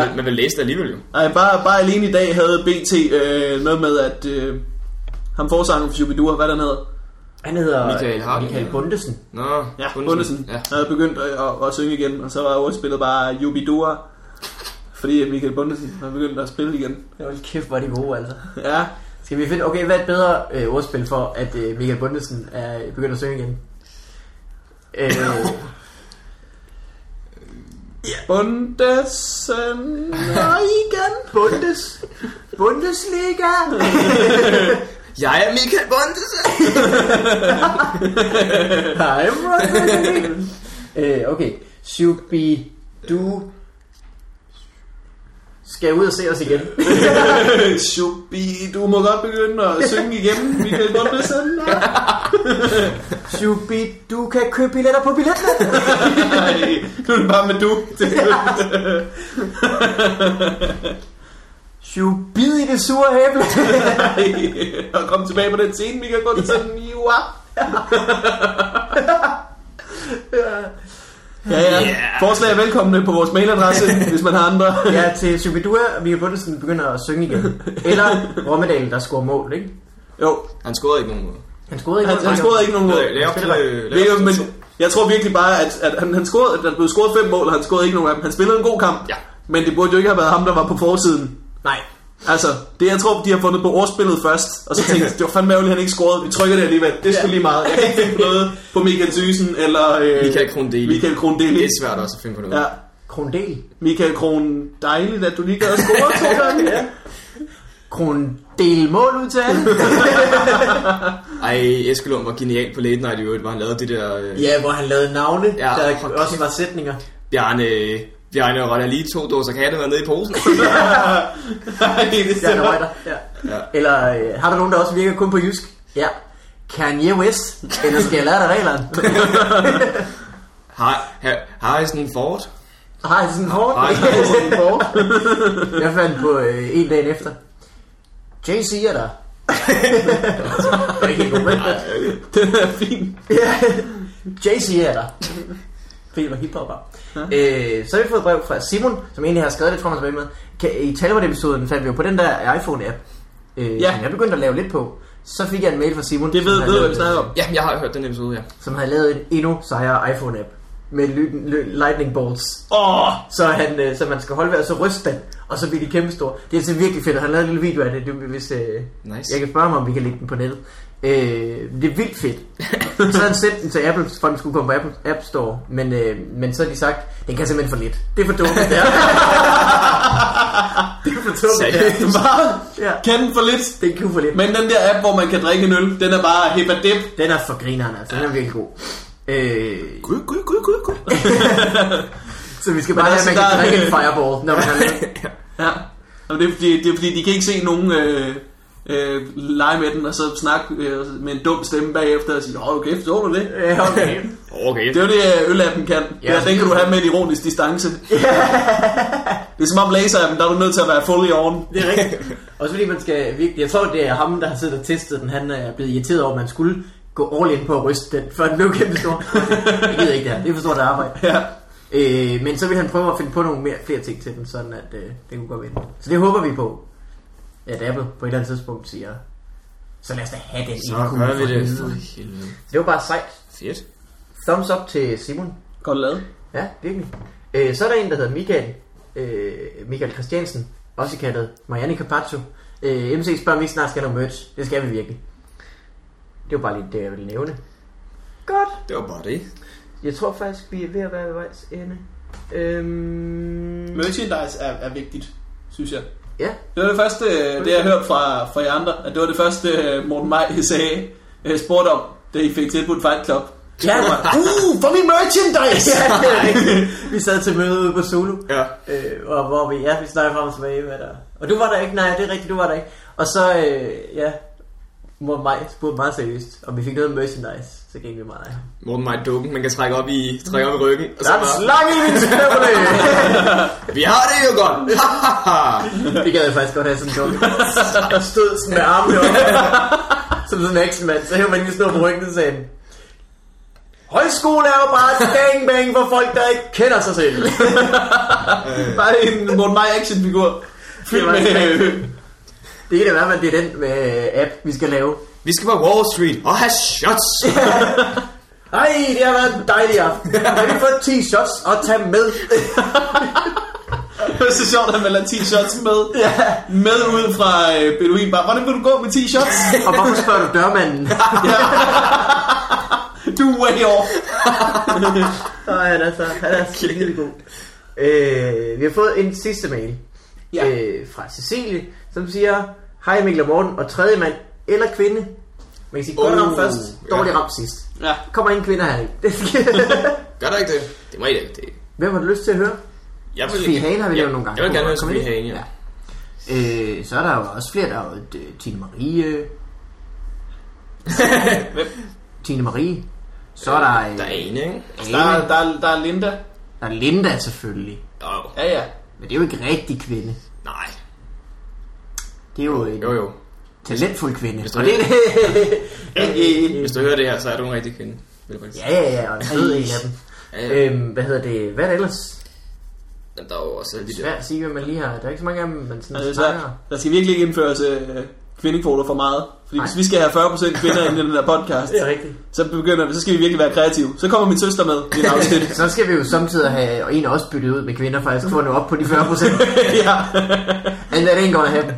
Ja. vil, man vil læse det alligevel jo. Ej, bare, bare alene i dag havde BT øh, noget med, at øh, ham forsangeren for Shubidua, hvad den hedder, Han hedder Michael Harden. Michael Bundesen. Nå, ja, Bundesen. Bundesen, Ja. havde begyndt at, at, at, synge igen, og så var ordspillet bare Jubidua, fordi Michael Bundesen havde begyndt at spille igen. Hold kæft, hvor er de gode, altså. Ja, Skal vi finde, okay, hvad er et bedre øh, ordspil for, at øh, Michael Bundesen er begyndt at synge igen? Øh, Bundesen, og igen. Bundes, Bundesliga! Jeg er Michael Bundesen! Hej, Bundesliga! øh, okay, Shubi, du skal ud og se os igen. Shubi, du må godt begynde at synge igen, Michael Bundesen. Shubi, du kan købe billetter på billetten. Nej, nu er det bare med du. Shubid i det sure æble. Ej, og kom tilbage på den scene, Michael Bundesen. Ja. Ja, ja. Yeah. Yeah. Forslag er velkomne på vores mailadresse, hvis man har andre. Ja, til Subidua, og Mia Bundesen begynder at synge igen. Eller Rommedal, der scorer mål, ikke? Jo, Han scorede ikke nogen måde. Han scorede ikke han, mål. han scorede ikke nogen mål. Øh, Lav op til... øh, lav Det er op jo, til- men jeg tror virkelig bare, at, at han, han scorede, at der blev scoret fem mål, og han scorede ikke nogen af dem. Han spillede en god kamp, Ja. men det burde jo ikke have været ham, der var på forsiden. Nej. Altså, det jeg tror, de har fundet på ordspillet først, og så tænkte jeg, det var fandme ærgerligt, han ikke scorede. Vi trykker det alligevel. Det skulle lige meget. Jeg kan ikke finde på noget på Michael Thyssen eller øh, Michael Krondeli. Michael Kron Det Deli. er svært også at finde på noget. Ja. Krondel. Michael Kron, dejligt, at du lige gad at score to gange. ja. Krondel mål ud til alle. Ej, Eskelund var genial på Late Night i øvrigt, hvor han lavede det der... Øh, ja, hvor han lavede navne, ja, der hold også var sætninger. Bjarne, Bjarne Rønner lige to dåser katte var nede i posen. Ja, der var der. Ja. Ja. ja. Eller øh, har der nogen, der også virker kun på jysk? Ja. Kanye West, eller skal jeg lære dig reglerne? har, har, har I sådan en Ford? Har jeg sådan hårdt? Har I sådan en hårdt? jeg fandt på øh, en dag efter. Jay-Z er der. det er ikke helt god, men... øh, Den er fin. Ja. Jay-Z er der. Fordi var hiphopper. Øh, så har vi fået et brev fra Simon, som egentlig har skrevet det, tror jeg, han er med. Kan, I Talbot-episoden fandt vi jo på den der iPhone-app. Øh, Ja. ja. Jeg begyndte at lave lidt på. Så fik jeg en mail fra Simon. Det som ved, havde ved du, lavet- hvad vi snakker om. Ja, jeg har hørt den episode, ja. Som havde lavet en endnu sejere iPhone-app. Med ly- ly- lightning bolts. Åh, oh, Så, han, øh, så man skal holde ved, og så ryste den, og så bliver de kæmpe store. Det er altså virkelig fedt, og han lavede en lille video af det, det hvis, øh, Nice. jeg kan spørge mig, om vi kan lægge den på nettet. Øh, det er vildt fedt. så havde han sendt den til Apple, for den skulle komme på Apple App Store, men, øh, men så har de sagt, den kan simpelthen for lidt. Det er for dumt. det er. det er for dumt. det er. Seriøst? bare Ja. kan den for lidt. Den kan for lidt. Men den der app, hvor man kan drikke en øl, den er bare hip og dip. Den er for grineren, altså. Den er virkelig god. Øh, Gud, gud, gud, gud, gud. så vi skal bare have, altså, at man kan der- drikke en fireball, når man har lavet- Ja. Jamen, det, er fordi, det er fordi, de kan ikke se nogen øh, øh, lege med den, og så snakke øh, med en dum stemme bagefter og sige, åh, okay, så du det? Ja, Øh, okay. Okay. Det er jo det, øh, ølappen kan. Ja. Ja. ja, den kan du have med en ironisk distance. Det er som om laserappen, der er du nødt til at være fully on. Det er rigtigt. Også fordi man skal virkelig... Jeg tror, det er ham, der har siddet og testet den. Han er blevet irriteret over, at man skulle gå all in på at ryste den, før den blev kæmpe stor. Jeg gider ikke det her. Det er for stort arbejde. Ja. Øh, men så vil han prøve at finde på nogle mere, flere ting til den, sådan at øh, det kunne gå vinde. Så det håber vi på, at Apple på et eller andet tidspunkt siger, så lad os da have den. Så ene kugle gør vi for det. helvede." For helvede. Det var bare sejt. Fedt. Thumbs up til Simon. Godt lavet. Ja, virkelig. Øh, så er der en, der hedder Michael, øh, Michael Christiansen, også kaldet Marianne Capaccio. Øh, MC spørger, om vi ikke snart skal have noget merch. Det skal vi virkelig. Det var bare lige det, jeg ville nævne. Godt. Det var bare det. Jeg tror faktisk, vi er ved at være ved vejs ende. Øhm... Merchandise er, er vigtigt, synes jeg. Ja, Det var det første, øh, det jeg hørte fra, fra jer andre, at det var det første, øh, Morten Maj sagde, øh, spurgte om, da I fik tilbudt Fight Club. ja Uh, for min merchandise! Ja, det er rigtigt. Vi sad til møde ude på Zulu, Ja. øh, og hvor vi, ja, vi snakkede frem og tilbage, hvad der... Og du var der ikke, nej, det er rigtigt, du var der ikke. Og så, øh, ja, mor mig spurgte meget seriøst, om vi fik noget merchandise, så gik vi meget af. Morten Maj dukken, man kan trække op i, trække op i ryggen. Og så Der er en bare, slange i min snøvle! vi har det jo godt. det gad jeg faktisk godt have sådan en dukke. Jeg stod sådan med armene op, som sådan en eksmand, så hævde man lige stå på ryggen og sagde, Højskole er jo bare gangbang for folk, der ikke kender sig selv. Bare en Morten Maj actionfigur. Fyldt Det var med... ikke Øh, Det kan da være, at det er den øh, app, vi skal lave. vi skal på Wall Street og have shots. Ej, det har været en dejlig aften. Kan vi få 10 shots og tage med? det var så sjovt, at man lader t-shirts med. ja. Med ud fra øh, Beduin Bar. Hvordan vil du gå med t-shirts? Og hvorfor spørger du dørmanden? ja. Du er way off. Nej, han er så, han er skide god. Øh, vi har fået en sidste mail Ja. øh, fra Cecilie, som siger, Hej Mikkel og Morten, og tredje mand eller kvinde. Man kan sige, godt Oh, ramt først, ja. dårligt ramt sidst. Ja. Kommer ingen kvinder her Gør der ikke det? Det må I da ikke. Det. Hvem har du lyst til at høre? Jeg Sofie Hagen har vi Ja, lavet nogle gange. Jeg vil gerne have Kommer Sofie det? Hagen, ja. Øh, så er der jo også flere, der er jo øh, Tine Marie. Hvem? Tine Marie. Så er der, øh, Der er en, ikke? Der, er- der, er- der er Linda. der er Linda selvfølgelig. Oh, Ja, ja. Men det er jo ikke rigtig kvinde. nej. Det er jo en Jo, jo. talentfuld kvinde. øh, Hvis du Og det er Hvis du hører det her, så er du en rigtig kvinde. Vil jeg faktisk. Ja, ja, ja, og en fed en af dem. Ja, ja. Øhm, hvad hedder det? Hvad er det ellers? Men der er jo også alle de Det er der... svært at sige, hvad man lige har. Der er ikke så mange af dem, man sådan Altså, det er altså, svært. snakker. Der skal virkelig ikke indføres øh, kvindekvoter for meget. Fordi Nej. hvis vi skal have 40% kvinder ind i den her podcast, Det er rigtigt. så begynder vi, så skal vi virkelig være kreative. Så kommer min søster med i et afsnit. Så skal vi jo samtidig have en også byttet ud med kvinder, faktisk for at nå op på de 40 procent. ja. And that ain't gonna happen.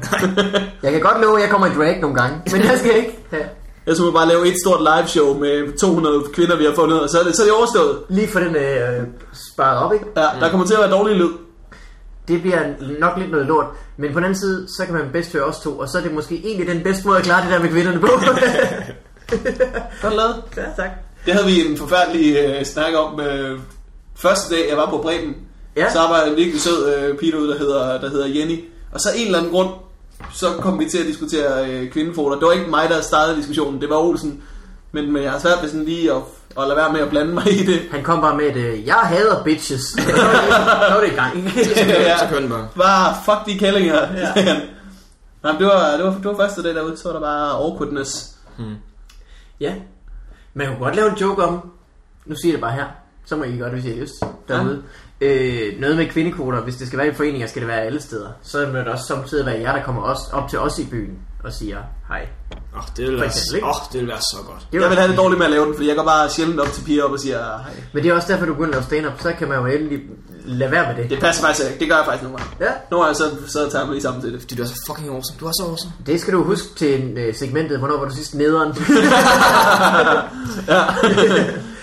Jeg kan godt love, at jeg kommer i drag nogle gange, men jeg skal ikke have Jeg skulle bare lave et stort live show med 200 kvinder, vi har fundet, og så er det, så er det overstået. lige for den øh, sparet op, ikke? Ja, der kommer til at være dårlig lyd. Det bliver nok lidt noget lort, men på den anden side, så kan man bedst høre os to, og så er det måske egentlig den bedste måde at klare det der med kvinderne på. Godt lavet. ja, tak. Det havde vi en forfærdelig øh, snak om øh, første dag, jeg var på Bremen. Ja. Så var en virkelig sød øh, pige derude, der hedder, der hedder Jenny. Og så en eller anden grund, så kom vi til at diskutere øh, kvindefoder. Det var ikke mig, der startede diskussionen, det var Olsen. Men, men jeg har svært ved sådan lige at, at lade være med at blande mig i det. Han kom bare med et, øh, jeg hader bitches. Så var det, så var det i gang. Ja. Så kører den bare. Bare, fuck de kællinger. Ja. Nej, men det var, det, var, det var første dag derude, så var der bare awkwardness. ja. Man kunne godt lave en joke om, nu siger jeg det bare her, så må I godt, hvis I har lyst derude. Øh, noget med kvindekvoter, hvis det skal være i foreninger, skal det være alle steder. Så må det også samtidig være jer, der kommer os, op til os i byen og siger hej. Åh, oh, det ville være, eksempel, ikke? åh, det ville være så godt. Det Jeg var- vil have det dårligt med at lave den, fordi jeg går bare sjældent op til piger op og siger, hej. Men det er også derfor, du begynder at lave stand-up, så kan man jo endelig lade være med det. Det passer faktisk ikke. Det gør jeg faktisk nogle gange. Ja. Nu er jeg så, så tager jeg mig lige sammen til det. Fordi du er så fucking awesome. Du er så awesome. Det skal du huske til øh, segmentet, hvornår var du sidst nederen. Ja.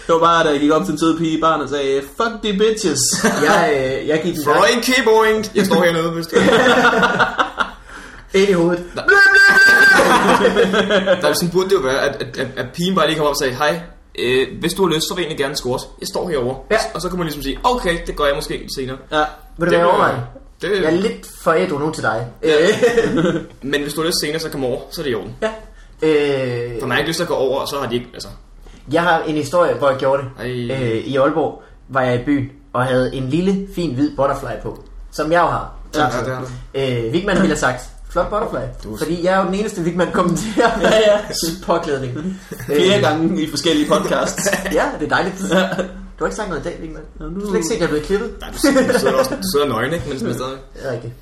det var bare, da jeg gik op til en sød pige i barn og sagde, fuck de bitches. jeg, øh, jeg gik en gang Freud keyboarding. Jeg står hernede, hvis du... ind i hovedet. Der er sådan burde det jo være, at, at, at, at pigen bare lige kommer op og siger, hej, øh, hvis du har lyst, så vil jeg egentlig gerne squat. Jeg står herovre. Ja. Og så kan man ligesom sige, okay, det gør jeg måske senere. Ja. Vil du være bliver- overvej? Det, Jeg er lidt for ædru nu til dig. Øh, men hvis du har lyst senere, så kom over, så er det i orden. ja. Øh, For man har ikke lyst til at gå over, og så har de ikke, altså... Jeg har en historie, hvor jeg gjorde det. Ej. Øh, I Aalborg var jeg i byen og havde en lille, fin, hvid butterfly på. Som jeg jo har. Ja. Ja, det er det. Øh, Vigman ville have sagt, flot butterfly. Fordi jeg er jo den eneste Vigman kommenterer ja, ja. påklædning. Øh, Flere Øh. gange i forskellige podcasts. Ja, det er dejligt. Du har ikke sagt noget i dag, Vigman. Du har slet ikke set, at jeg er blevet klippet. Nej, du sidder, du sidder, også, du sidder nøgen, ikke? Men sådan stadig. Det er rigtigt.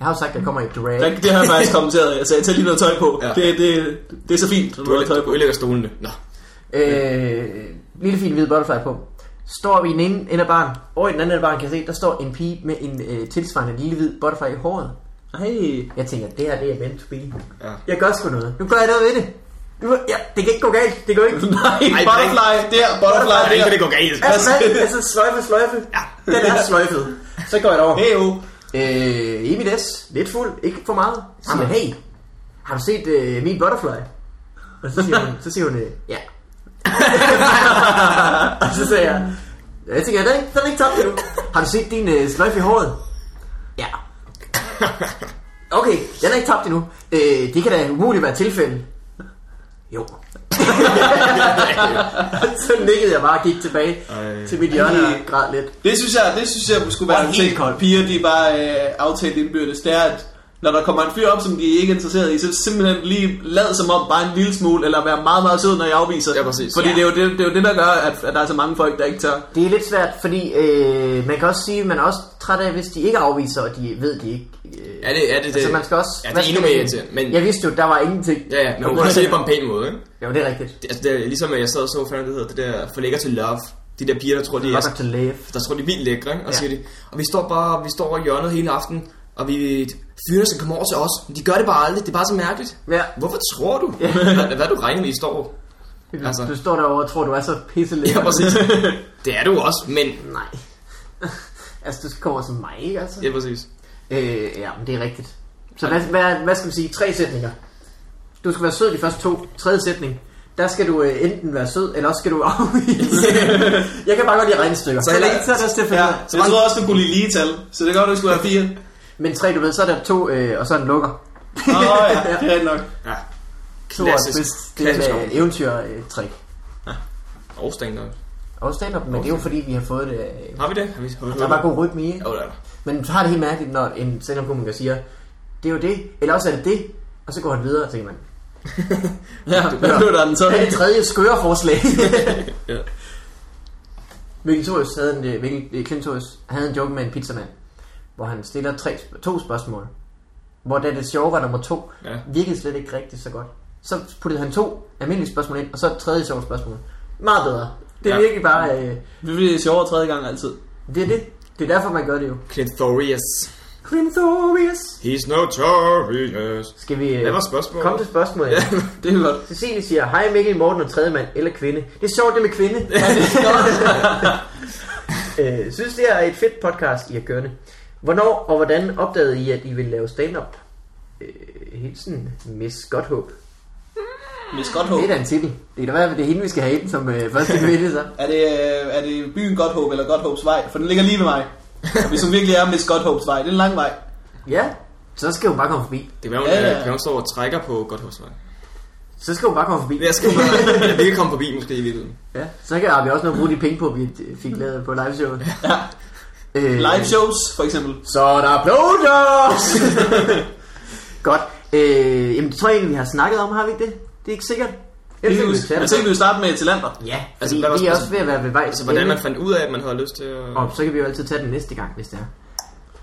Jeg har jo sagt, at jeg kommer i drag. Der, det har jeg faktisk kommenteret. Jeg sagde, tag lige noget tøj på. Ja. Ja. Det, det, det er så fint, når Du, du har ødelægger- tøj du på. ødelægger stolene. Nå. Øh, lille fin hvid butterfly på. Står vi i den ene ende af barn, og i den anden ende af barn kan jeg se, der står en pige med en øh, tilsvarende lille hvid butterfly i håret. Hey. Jeg tænker, det her det er meant to be. Ja. Jeg gør sgu noget. Nu gør jeg noget ved det. Nu, ja, det kan ikke gå galt. Det går ikke. Nej, Ej, butterfly der, butterfly Nej, der. kan det gå galt. Altså, hvad? altså sløjfe, sløjfe. Ja. Den er sløjfet. Så går jeg derover. Hey, jo. Øh, i mit S. Lidt fuld. Ikke for meget. Så siger jeg, hey, har du set øh, min butterfly? Og så siger hun, så siger hun øh, ja. og så sagde jeg, jeg tænker, den er ikke, den er ikke tabt endnu. Har du set din øh, sløjfe i håret? Ja. Okay, den er ikke tabt endnu. Øh, det kan da umuligt være tilfældet. Jo. så nikkede jeg bare og gik tilbage Ej. til mit hjørne Ej. og græd lidt. Det synes jeg, det synes jeg skulle være Og en helt ting, kold. piger de bare øh, aftalt indbyrdes. Det er, at når der kommer en fyr op, som de ikke er interesseret i, så simpelthen lige lad som om bare en lille smule, eller være meget, meget sød, når jeg afviser. Ja, præcis. Fordi Ja. det, er jo det, det er jo det, der gør, at, at der er så mange folk, der ikke tør. Det er lidt svært, fordi øh, man kan også sige, at man er også træt af, hvis de ikke afviser, og de ved de ikke. Øh, Er det, er det, altså, man skal også... Ja, det man er skal endnu mere ligesom- irriterende. Men, Jeg vidste jo, der var ingenting. ja, ja, men hun kan sige det på en pæn måde, ikke? Jo, det er rigtigt. Det, altså, det er ligesom, at jeg sad og så fanden, det hedder det der forlægger til love. De der piger, der tror, de er, Robert to live. der tror, de er vildt lækre, ikke? Og Altså- Ja. siger de, og vi står bare, vi står over i hjørnet hele aften, og vi fyrene skal komme over til os. Men de gør det bare aldrig, det er bare så mærkeligt. Ja. Hvorfor tror du? Hvad, hvad du regner med, I står? Altså. Du står derovre og tror, du er så pisselækker. Ja, præcis. Det er du også, men... Nej. altså, du kommer som mig, ikke altså? Ja, præcis. Øh, ja, men det er rigtigt. Så hvad, hvad, hvad skal man sige? Tre sætninger. Du skal være sød de første to. Tredje sætning. Der skal du øh, enten være sød, eller også skal du afvise. jeg kan bare godt lide regnestykker. Så, så, heller- så er det også til at finde Ja, ud af. så jeg troede også, du kunne lide lige tal, så det gør, du skulle have fire. Men tre, du ved, så er der to, øh, og så en lukker. Åh oh, ja, det er rigtigt nok. Ja. To og et Klassisk. twist. Det er Klassisk. et øh, eventyrtrik. Og stand-up. Og stand men det er jo fordi, vi har fået det... Øh, Har vi det? Har vi, har vi der er bare god rytme i, ikke? Jo, der er der. Men du har det helt mærkeligt, når en stand komiker siger, det er jo det, eller også er det det, og så går han videre, og tænker man, Ja, hvad blev der den så? hvad er det tredje skøre forslag? Ja. Vigitorius havde en, øh, Vigil- øh, Clintorius havde en joke med en pizzamand, hvor han stiller tre, sp- to spørgsmål. Hvor da det sjove var nummer to, Ja. virkede slet ikke rigtig så godt. Så puttede han to almindelige spørgsmål ind, og så et tredje sjovt spørgsmål. Meget bedre. Det er Ja. ja. virkelig bare... Øh, Vi bliver sjovere tredje gang altid. det er det. Det er derfor, man gør det jo. Clintorius. Clintorius! He's notorious. Skal vi... øh, Hvad var spørgsmålet? Kom til spørgsmålet. Ja. Det er godt. Cecilie siger, hej Mikkel, Morten og tredje mand eller kvinde. Det er sjovt, det med kvinde. øh, synes, det er et fedt podcast, I har kørende. Hvornår og hvordan opdagede I, at I ville lave stand-up? Øh, hilsen, Miss Godthåb. Miss Godthåb. Det er da en titel. Det kan da være, at det er hende, vi skal have ind som øh, første kvinde, så. Er det, øh, er det byen Godthåb eller Godthåbs vej? For den ligger lige ved mig. Og Hvis hun virkelig er Miss Godthåbs vej, det er en lang vej. Ja, så skal hun bare komme forbi. øh, Det kan være, hun, Ja, ja. ja, ja. hun står og trækker på godt hos mig. Så skal hun bare komme forbi. Jeg skal bare, jeg vil ikke komme forbi måske i virkeligheden. Ja, så kan har vi også noget at bruge de penge på, vi øh, fik lavet på liveshowet. Ja. Øh, Live shows, for eksempel. Så er der blowjobs! Godt. Øh, jamen, det tror jeg egentlig, vi har snakket om, har vi ikke det? Det er ikke sikkert. Det Ellers kan kan vi vi- tage Jeg det. tænkte, vi ville starte med Etilander. Ja, Altså, altså, hvad var vi er også spørgsmålet? ved at være ved vej. Altså, hvordan man fandt ud af, at man havde lyst til at... Og så kan vi jo altid tage den næste gang, hvis det er.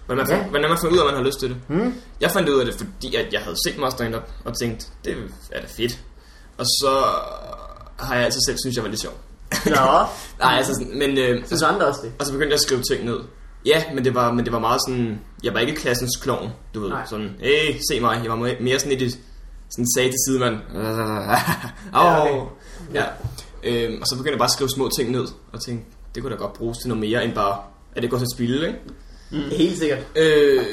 Hvordan man, Ja. ja. hvordan man fandt ud af, at man havde lyst til det. Hmm? Mm. Jeg fandt ud af det, fordi at jeg havde set meget stand-up, og tænkte, det er da fedt. Og så har jeg altid selv synes jeg var lidt sjov. Nå, Nej, altså, sådan- men... Øh, synes andre også det. og så begyndte jeg at skrive ting ned. Ja, men det var, men det var meget sådan... Jeg var ikke klassens klovn, du ved. Nej. Nej. Sådan, hey, se mig. Jeg var mere- mere sådan lidt... Sådan sagde til sidemand. Åh. okay. Ja. Øhm, og så begyndte jeg bare at skrive små ting ned, og tænkte, det kunne da godt bruges til noget mere, end bare, at det går til at spille, ikke? Mm. Helt sikkert. Øh,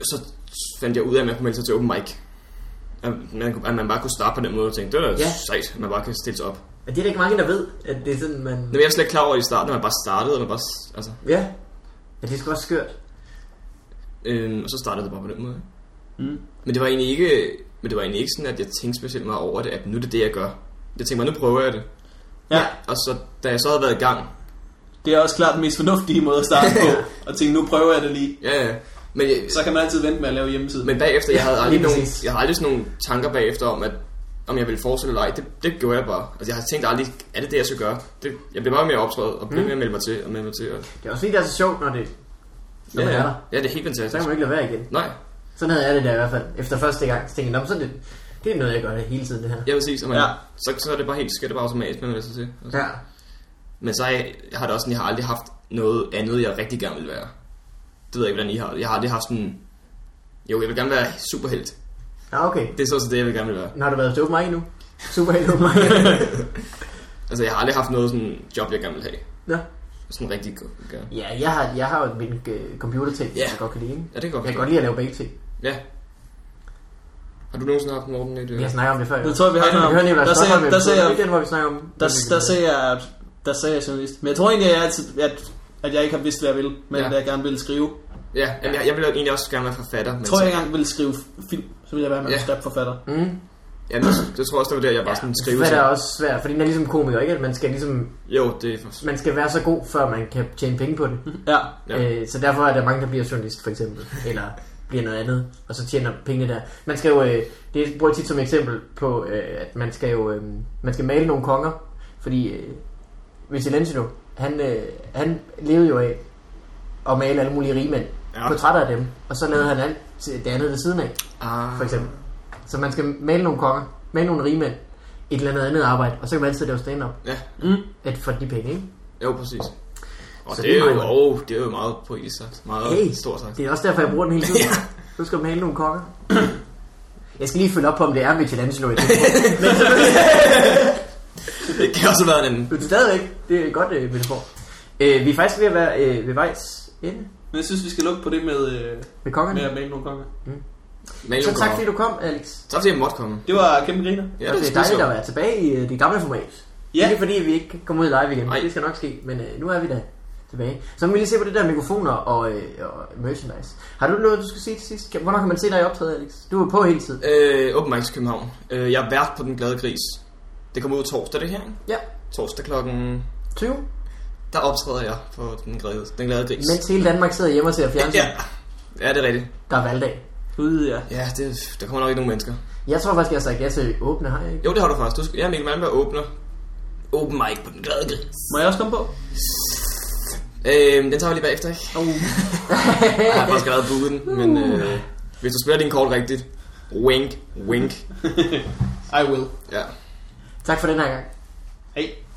så fandt jeg ud af, at man kunne melde sig til open mic. At man, kunne- at man bare kunne starte på den måde og tænke, det er da Ja. ja. sejt, at man bare kan stille sig op. Men det er der ikke mange, der ved, at det er sådan, man... Men jeg var slet ikke klar over i starten, at man bare startede, og man bare, s- altså, Ja. Men det er sgu også skørt. øh, og så startede det bare på den måde. Mm. Men det var egentlig ikke, men det var egentlig ikke sådan, at jeg tænkte specielt meget over det, at nu er det det, jeg gør. Jeg tænkte mig, nu prøver jeg det. Ja. Og så, da jeg så havde været i gang, Det er også klart den mest fornuftige måde at starte på. Og tænke, nu prøver jeg det lige. ja, ja. Men, jeg, Så kan man altid vente med at lave hjemmeside. men bagefter, jeg havde lige aldrig, nogen, præcis. jeg havde aldrig sådan nogle tanker bagefter om, at om jeg ville fortsætte eller ej, det, det gjorde jeg bare. Altså, jeg har tænkt aldrig, er det det, jeg skal gøre? Det, jeg blev bare mere optrådt, og blev mm. mere meldt mig til, og melde mig til. Og, Det er også fordi, det er så sjovt, når det... Når ja, man er ja, der. ja, det er helt Så fantastisk. kan man ikke lade være igen. Nej, Sådan havde jeg det der i hvert fald. Efter første gang, så tænkte jeg, "Nå, men så er det, det er noget, jeg gør hele tiden, det her. ja, præcis. Og man, Ja. ja. så, så er det bare helt, sker det bare automatisk, man melder sig til. Altså. Ja. Men så har jeg, jeg har det også sådan, jeg har aldrig haft noget andet, jeg rigtig gerne vil være. Det ved jeg ikke, hvordan I har det. Jeg har aldrig haft sådan... Jo, jeg vil gerne være superhelt. Ja, okay. Det er så også det, jeg vil gerne vil være. Men Har du været til open mic nu? Super helt open mic. Altså, jeg har aldrig haft noget sådan job, jeg gerne vil have. Nå. Sådan rigtig godt. gerne. Ja, jeg har, jeg har jo min øh, computerting, yeah. Ja. jeg godt kan lide. ikke? Ja, det kan jeg godt Jeg kan forstå. godt lide at lave begge ting. Ja. Har du nogensinde haft Morten et... øh, Vi har snakket om det før. jo. Nu tror jeg, vi har Vi snakket om- hører Nicolaj der sagde- Stockholm, der episode. sagde- Det er ikke den, hvor vi snakker om. Der, der sagde jeg, at- der sagde jeg journalist. Men jeg tror egentlig, at jeg, altid, at, at jeg ikke har vidst, hvad jeg vil, men Ja. hvad jeg gerne ville skrive. Ja, jamen, jeg, jeg ville egentlig også gerne være forfatter. Men Jeg tror, så- jeg engang ville skrive f- film, så ville jeg være manuskriptforfatter. Mm. Jamen, det, det tror jeg også, det var der, jeg bare sådan Det skrive til. er også svært, fordi den er ligesom komiker, ikke? At man skal, ligesom, Jo, det er for... man skal være så god, før man kan tjene penge på det. Ja. Ja. Øh, så derfor er der mange, der bliver journalist, for eksempel. Eller bliver noget andet, og så tjener pengene der. Man skal jo, øh, det bruger jeg tit som eksempel på, øh, at man skal jo øh, man skal male nogle konger. Fordi øh, Michelangelo, han, øh, han levede jo af at male alle mulige rigmænd. Ja. Ja. Portrætter af dem. Og så lavede han alt det andet ved siden af, Ah, for eksempel. Så man skal male nogle konger, male nogle rigmænd, et eller andet andet arbejde, og så kan man altid lave stand-up Ja, at- for de penge, ikke? jo, præcis. Og Så det, det er er jo, meget- oh, det er jo meget poetisk sagt. Meget Hey, hey. stort sagt. det er også derfor, jeg bruger den hele tiden. Du skal male nogle kokker. Jeg skal lige følge op på, om det er Michelangelo i det. Det kan også have været en anden. Men stadigvæk, det er et godt øh, metafor. Øh, vi er faktisk ved at være øh, ved vejs ende Men jeg synes, vi skal lukke på det med, øh, ved med at kongerne. male nogle konger. Men Så tak fordi du kom, Alex. Tak fordi jeg måtte komme. Det var kæmpe griner. Ja, Og det er skide sjovt. dejligt at være tilbage i øh, det gamle format. Ja. Ja. Ikke fordi vi ikke kommer ud live igen, Nej. det skal nok ske, men øh, nu er vi da tilbage. Så må vi lige se på det der mikrofoner og, øh, og merchandise. Har du noget, du skal sige til sidst? Kan- Hvornår kan man se dig i optræde, Alex? Du er på hele tiden. Øh, Open Mics København. Øh, jeg er vært på Den Glade Gris. Det kommer ud torsdag, det her. ikke? Ja, Torsdag klokken... 20. Der optræder jeg på Den Glade, den glade Gris. Mens hele Danmark sidder hjemme og ser fjernsyn, Ja. ja, det er rigtigt. der er valgdag. Ude, ja. Ja, det, der kommer nok ikke nogen mennesker. Jeg tror faktisk, jeg har sagt ja til åbne, har jeg ikke? Jo, det har du faktisk. Du skal, ja, Mikkel Malmberg åbner Open Mic på Den Glade Gris. Må jeg også komme på? Øh, den tager vi lige bagefter, ikke? Oh. Jeg har faktisk allerede booket den, men øh, hvis du spiller din kort rigtigt, wink, wink. I will. Ja. Tak for den her gang. Hej.